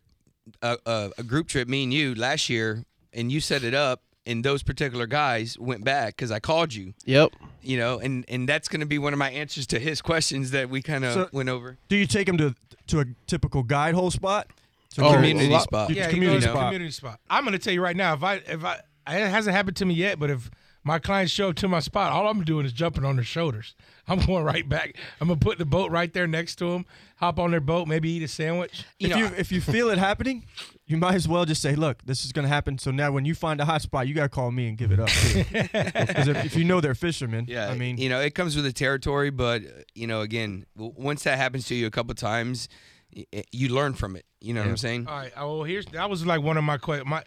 Speaker 7: a, a, a group trip, me and you last year, and you set it up, and those particular guys went back because I called you,
Speaker 8: yep
Speaker 7: you know, and and that's going to be one of my answers to his questions that we kind of
Speaker 9: So-
Speaker 7: went over.
Speaker 9: Do you take them to to a typical guide hole spot? So
Speaker 7: Oh,
Speaker 9: you're-
Speaker 7: community
Speaker 9: a lot-
Speaker 7: spot.
Speaker 9: you-
Speaker 6: Yeah, community
Speaker 9: community
Speaker 7: you know.
Speaker 6: spot.
Speaker 9: spot.
Speaker 6: Community spot. I'm gonna tell you right now. If I if I it hasn't happened to me yet, but if my clients show up to my spot, all I'm doing is jumping on their shoulders. I'm going right back. I'm gonna put the boat right there next to them. Hop on their boat, maybe eat a sandwich.
Speaker 7: You
Speaker 9: if
Speaker 7: know,
Speaker 9: you if you feel it happening, you might as well just say, "Look, this is gonna happen." So now, when you find a hot spot, you gotta call me and give it up. Because if, if you know they're fishermen,
Speaker 7: Yeah,
Speaker 9: I mean,
Speaker 7: you know, it comes with the territory, but uh, you know, again, w- once that happens to you a couple times, y- y- you learn from it. You know what I'm saying?
Speaker 6: All right. Oh, well, here's that was like one of my que- my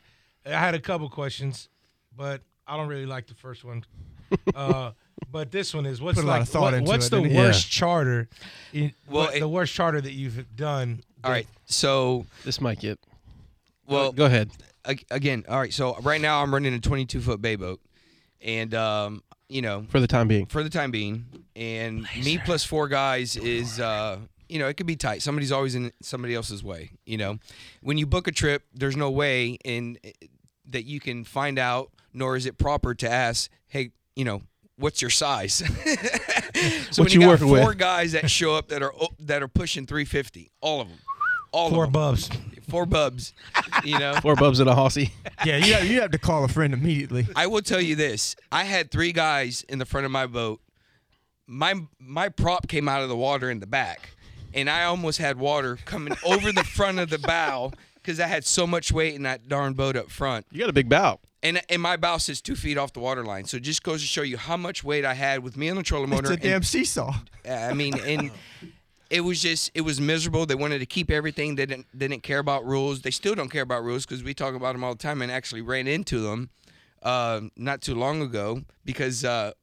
Speaker 6: I had a couple questions, but I don't really like the first one. uh, but this one is what's
Speaker 9: Put a lot
Speaker 6: like
Speaker 9: of thought
Speaker 6: what-
Speaker 9: into
Speaker 6: what's
Speaker 9: it,
Speaker 6: the
Speaker 9: didn't you?
Speaker 6: worst charter? In,
Speaker 7: Well,
Speaker 6: what-
Speaker 7: it-
Speaker 6: the worst charter that you've done.
Speaker 7: All right, so
Speaker 8: this might get
Speaker 7: well,
Speaker 8: go ahead
Speaker 7: ag- again, all right, so right now I'm running a 22 foot bay boat, and um, you know,
Speaker 8: for the time being
Speaker 7: for the time being, and me plus four guys is uh, you know it could be tight. Somebody's always in somebody else's way. You know, when you book a trip, there's no way in eh, that you can find out, nor is it proper to ask, hey, you know, what's your size? so
Speaker 8: What
Speaker 7: when
Speaker 8: you
Speaker 7: got
Speaker 8: working with?
Speaker 7: four guys that show up that are o- that are pushing 350, all of them, all
Speaker 6: Four
Speaker 7: of them,
Speaker 6: bubs.
Speaker 7: four bubs, you know.
Speaker 8: four bubs and a hossy
Speaker 9: yeah, you have, you have to call a friend immediately.
Speaker 7: I will tell you this: I had three guys in the front of my boat. My my prop came out of the water in the back, and I almost had water coming over the front of the bow because I had so much weight in that darn boat up front.
Speaker 8: you got a big bow
Speaker 7: And and my bow sits two feet off the water line, so it just goes to show you how much weight I had with me on the trolling
Speaker 9: It's
Speaker 7: motor.
Speaker 9: a
Speaker 7: and-
Speaker 9: damn seesaw.
Speaker 7: I mean, and it was just it was miserable. They wanted to keep everything. They didn't they didn't care about rules. They still don't care about rules because we talk about them all the time. And actually ran into them uh, not too long ago because uh,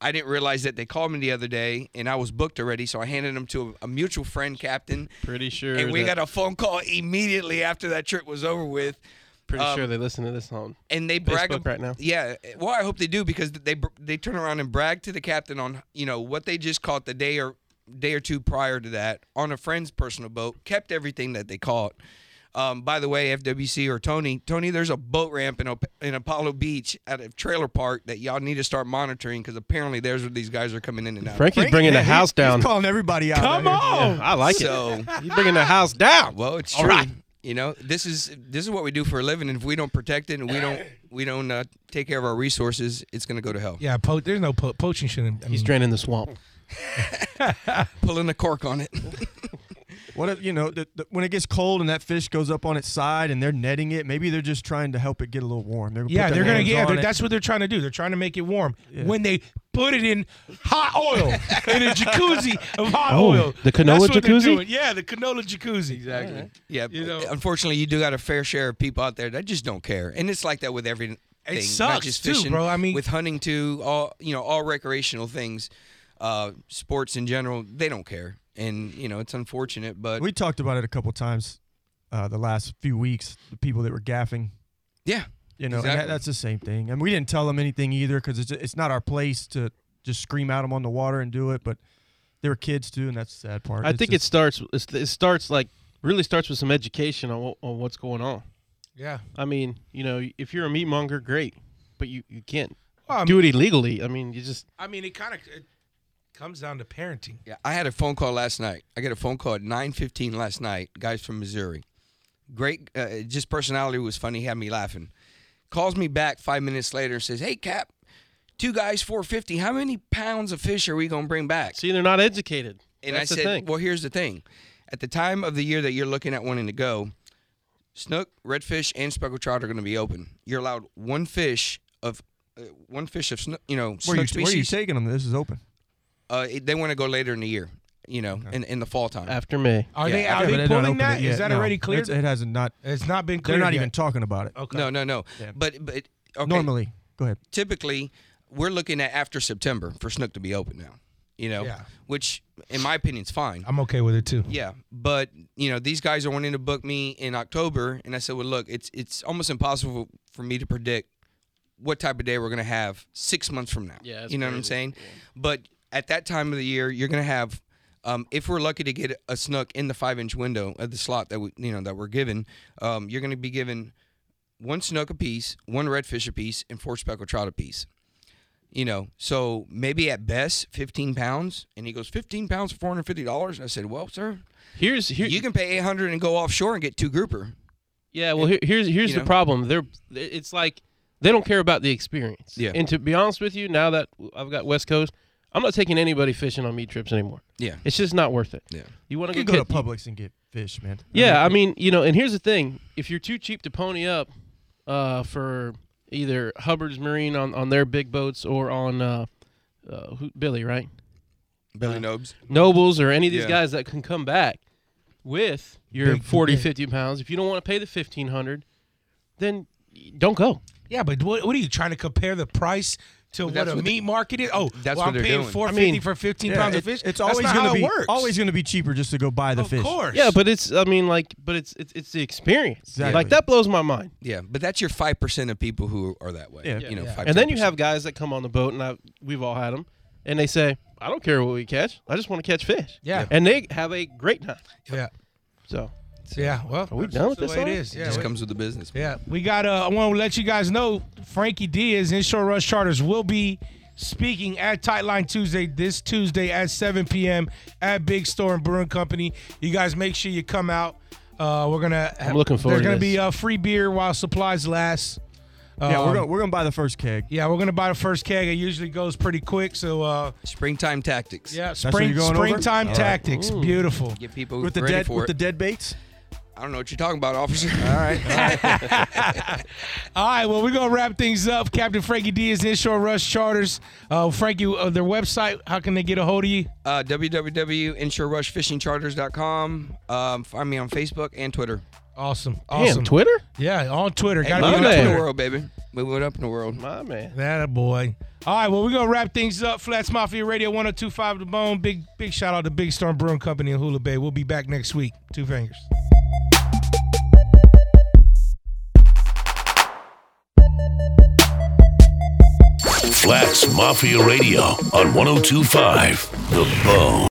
Speaker 7: I didn't realize that they called me the other day and I was booked already. So I handed them to a, a mutual friend captain,
Speaker 8: pretty sure
Speaker 7: and we
Speaker 8: that-
Speaker 7: got a phone call immediately after that trip was over with.
Speaker 8: pretty
Speaker 7: um,
Speaker 8: sure they listen to this on
Speaker 7: and they brag
Speaker 8: Facebook
Speaker 7: ab-
Speaker 8: right now.
Speaker 7: Yeah, well, I hope they do because they br- they turn around and brag to the captain on you know what they just caught the day or day or two prior to that on a friend's personal boat. Kept everything that they caught. Um, by the way, FWC or Tony, Tony, there's a boat ramp in, Op- in Apollo Beach at a trailer park that y'all need to start monitoring because apparently there's where these guys are coming in and out.
Speaker 8: Frankie's bringing the house down.
Speaker 9: He's calling everybody out.
Speaker 8: Come
Speaker 9: right here.
Speaker 8: on, I like
Speaker 7: So-
Speaker 8: it. He's bringing the house down.
Speaker 7: Well, it's
Speaker 8: All
Speaker 7: true.
Speaker 8: right.
Speaker 7: You know, this is this is what we do for a living, and if we don't protect it and we don't we don't uh, take care of our resources, it's gonna go to hell.
Speaker 6: Yeah, po- there's no po- poaching shouldn't. I
Speaker 8: He's
Speaker 6: mean,
Speaker 8: draining the swamp.
Speaker 7: Pulling the cork on it.
Speaker 9: What if you know the, the, when it gets cold and that fish goes up on its side and they're netting it? Maybe they're just trying to help it get a little warm. They're gonna put
Speaker 6: Yeah,
Speaker 9: their
Speaker 6: they're gonna
Speaker 9: hands
Speaker 6: yeah.
Speaker 9: on
Speaker 6: They're,
Speaker 9: it.
Speaker 6: that's what they're trying to do. They're trying to make it warm. When they put it in hot oil in a jacuzzi of hot
Speaker 8: Oh,
Speaker 6: oil.
Speaker 8: the canola
Speaker 6: That's what they're
Speaker 8: jacuzzi?
Speaker 6: doing. Yeah, the canola jacuzzi. Exactly.
Speaker 7: Yeah,
Speaker 6: You know-
Speaker 7: unfortunately, you do got a fair share of people out there that just don't care, and it's like that with everything.
Speaker 6: It
Speaker 7: not
Speaker 6: sucks,
Speaker 7: just
Speaker 6: too,
Speaker 7: fishing,
Speaker 6: bro. I mean-
Speaker 7: with hunting too, all you know, all recreational things, uh, sports in general, they don't care, and you know, it's unfortunate, but
Speaker 9: We talked about it a couple times uh, the last few weeks. The people that were gaffing,
Speaker 7: yeah,
Speaker 9: you know, and
Speaker 7: Exactly.
Speaker 9: that, that's the same thing. And we didn't tell them anything either because it's it's not our place to just scream at them on the water and do it. But they were kids too, and that's the sad part.
Speaker 8: I think it
Speaker 9: just-
Speaker 8: starts. it's- It starts like really starts with some education on, what, on what's going on.
Speaker 6: Yeah.
Speaker 8: I mean, you know, if you're a meat monger, great, but you you can't
Speaker 6: Well,
Speaker 7: Um,
Speaker 6: I
Speaker 8: do it illegally. I mean, you just
Speaker 6: I mean, it kind of it comes down to parenting.
Speaker 7: Yeah, I had a phone call last night. I got a phone call at nine fifteen last night. Guys from Missouri, great. Uh, just personality was funny. Had me laughing. Calls me back five minutes later and says, "Hey, Cap, two guys, four fifty. How many pounds of fish are we gonna bring back?"
Speaker 8: see they're not educated.
Speaker 7: And
Speaker 8: That's
Speaker 7: I
Speaker 8: the
Speaker 7: said,
Speaker 8: thing.
Speaker 7: "Well, here's the thing. At the time of the year that you're looking at wanting to go, snook, redfish, and speckled trout are going to be open. You're allowed one fish of uh, one fish of snook, you know,
Speaker 9: Where you,
Speaker 7: snook
Speaker 9: where you
Speaker 7: species.
Speaker 9: taking them? This is open.
Speaker 7: uh, it- they want to go later in the year, you know, in, in the fall time.
Speaker 8: After May,
Speaker 6: Are
Speaker 7: Yeah,
Speaker 6: they are
Speaker 7: I
Speaker 9: Yeah, but
Speaker 6: they
Speaker 9: they're not
Speaker 6: pulling
Speaker 9: open
Speaker 6: that?
Speaker 9: it yet,
Speaker 6: Is that
Speaker 9: no.
Speaker 6: already cleared?
Speaker 9: It's- It hasn't not.
Speaker 6: It's not been
Speaker 9: They're
Speaker 6: cleared.
Speaker 9: not
Speaker 6: yet.
Speaker 9: even talking about it.
Speaker 6: Okay.
Speaker 7: No, no, no. But but okay.
Speaker 9: Normally, go ahead.
Speaker 7: typically we're looking at after September for snook to be open now. You know,
Speaker 6: Yeah.
Speaker 7: which in my opinion is fine.
Speaker 6: I'm okay with it too.
Speaker 7: Yeah, but you know these guys are wanting to book me in October, and I said, "Well, look, it's it's almost impossible for me to predict what type of day we're gonna have six months from now."
Speaker 8: Yeah, that's
Speaker 7: you know what I'm
Speaker 8: crazy.
Speaker 7: saying. But at that time of the year, you're gonna have, um, if we're lucky to get a snook in the five inch window of the slot that we you know that we're given, um, you're gonna be given one snook a piece, one redfish a piece, and four speckled trout a piece. You know, so maybe at best fifteen pounds, and he goes fifteen pounds for four hundred fifty dollars. I said, "Well, sir,
Speaker 8: here's here,
Speaker 7: you can pay 800 and go offshore and get two grouper.
Speaker 8: Yeah, well, here, here's here's
Speaker 7: you
Speaker 8: the
Speaker 7: know?
Speaker 8: problem. They're it's like they don't care about the experience.
Speaker 7: Yeah.
Speaker 8: And to be honest with you, now that I've got West Coast, I'm not taking anybody fishing on meat trips anymore.
Speaker 7: Yeah.
Speaker 8: It's just not worth it.
Speaker 7: Yeah.
Speaker 8: You want
Speaker 9: You can go
Speaker 8: to
Speaker 9: to
Speaker 8: get
Speaker 9: Publix and get fish, man.
Speaker 8: Yeah, I mean, you know, and here's the thing: if you're too cheap to pony up uh, for either Hubbard's Marine on on their big boats or on uh, uh, who, Billy, right?
Speaker 7: Billy Nobes.
Speaker 8: Nobles or any of these
Speaker 7: Yeah.
Speaker 8: guys that can come back with your
Speaker 9: Big-
Speaker 8: 40,
Speaker 9: yeah.
Speaker 8: 50 pounds. If you don't want to pay the 1500 then don't go.
Speaker 6: Yeah, but what, what are you trying to compare the price to what
Speaker 7: that's
Speaker 6: a
Speaker 7: what
Speaker 6: meat market is? Oh, well,
Speaker 7: that's what
Speaker 6: I'm
Speaker 7: they're
Speaker 6: paying
Speaker 7: doing.
Speaker 6: four
Speaker 8: I
Speaker 6: fifty
Speaker 8: mean,
Speaker 6: for fifteen
Speaker 9: Yeah,
Speaker 6: pounds
Speaker 9: it-
Speaker 6: of fish.
Speaker 9: It's
Speaker 6: That's
Speaker 9: always
Speaker 6: not
Speaker 9: going to
Speaker 6: how it
Speaker 9: be
Speaker 6: works.
Speaker 9: always going to be cheaper just to go buy the
Speaker 6: of
Speaker 9: fish.
Speaker 6: course.
Speaker 8: Yeah, but it's I mean like but it's it's it's the experience.
Speaker 9: Exactly.
Speaker 8: Like that blows my mind.
Speaker 7: Yeah, but that's your 5% of people who are that way.
Speaker 9: Yeah.
Speaker 7: You know, 5
Speaker 8: And then you have guys that come on the boat and I we've all had them and they say, "I don't care what we catch. I just want to catch fish."
Speaker 6: Yeah.
Speaker 8: And they have a great time.
Speaker 6: yeah,
Speaker 8: So,
Speaker 6: yeah. Well,
Speaker 8: we
Speaker 6: that's
Speaker 8: done with
Speaker 6: the
Speaker 8: this
Speaker 6: way it
Speaker 8: already?
Speaker 6: is. Yeah,
Speaker 7: just
Speaker 6: we-
Speaker 7: comes with the business.
Speaker 6: Yeah, we got. Uh, I want to let you guys know Frankie Diaz, Inshore Rush Charters, will be speaking at Tightline Tuesday this Tuesday at 7 p.m. at Big Store and Brewing Company. You guys make sure you come out. Uh, we're gonna.
Speaker 8: I'm looking forward
Speaker 6: There's
Speaker 8: to
Speaker 6: gonna be
Speaker 8: this.
Speaker 6: uh, free beer while supplies last.
Speaker 9: Yeah,
Speaker 6: Um,
Speaker 9: we're gonna, we're gonna buy the first keg.
Speaker 6: Yeah, we're gonna buy the first keg. It usually goes pretty quick. So uh,
Speaker 7: Springtime tactics.
Speaker 6: yeah,
Speaker 9: what
Speaker 6: spring
Speaker 9: you're going over?
Speaker 6: springtime
Speaker 9: All right.
Speaker 6: tactics. Beautiful.
Speaker 7: Get people
Speaker 9: With the
Speaker 7: ready
Speaker 9: dead
Speaker 7: for
Speaker 9: with the
Speaker 7: it.
Speaker 9: dead baits.
Speaker 7: I don't know what you're talking about, officer. All right.
Speaker 6: All right, well, we're going to wrap things up. Captain Frankie Diaz, Inshore Rush Charters. Uh, Frankie, uh, their website, how can they get a hold of you?
Speaker 7: uh, www.insurerushfishingcharters.com. Um, find me on Facebook and Twitter.
Speaker 6: Awesome.
Speaker 8: damn,
Speaker 6: Awesome.
Speaker 8: Twitter?
Speaker 6: Yeah, on Twitter.
Speaker 7: Hey,
Speaker 6: Gotta
Speaker 7: we
Speaker 6: be
Speaker 7: went
Speaker 6: on
Speaker 7: up in the
Speaker 6: Twitter.
Speaker 7: world, baby. We went up in the world.
Speaker 8: My man.
Speaker 6: That a boy. All right, well, we're going to wrap things up. Flats Mafia Radio 1025 The Bone. Big big shout out to Big Storm Brewing Company in Hula Bay. We'll be back next week. Two fingers.
Speaker 4: oh Flats Mafia Radio on 1025 The Bone.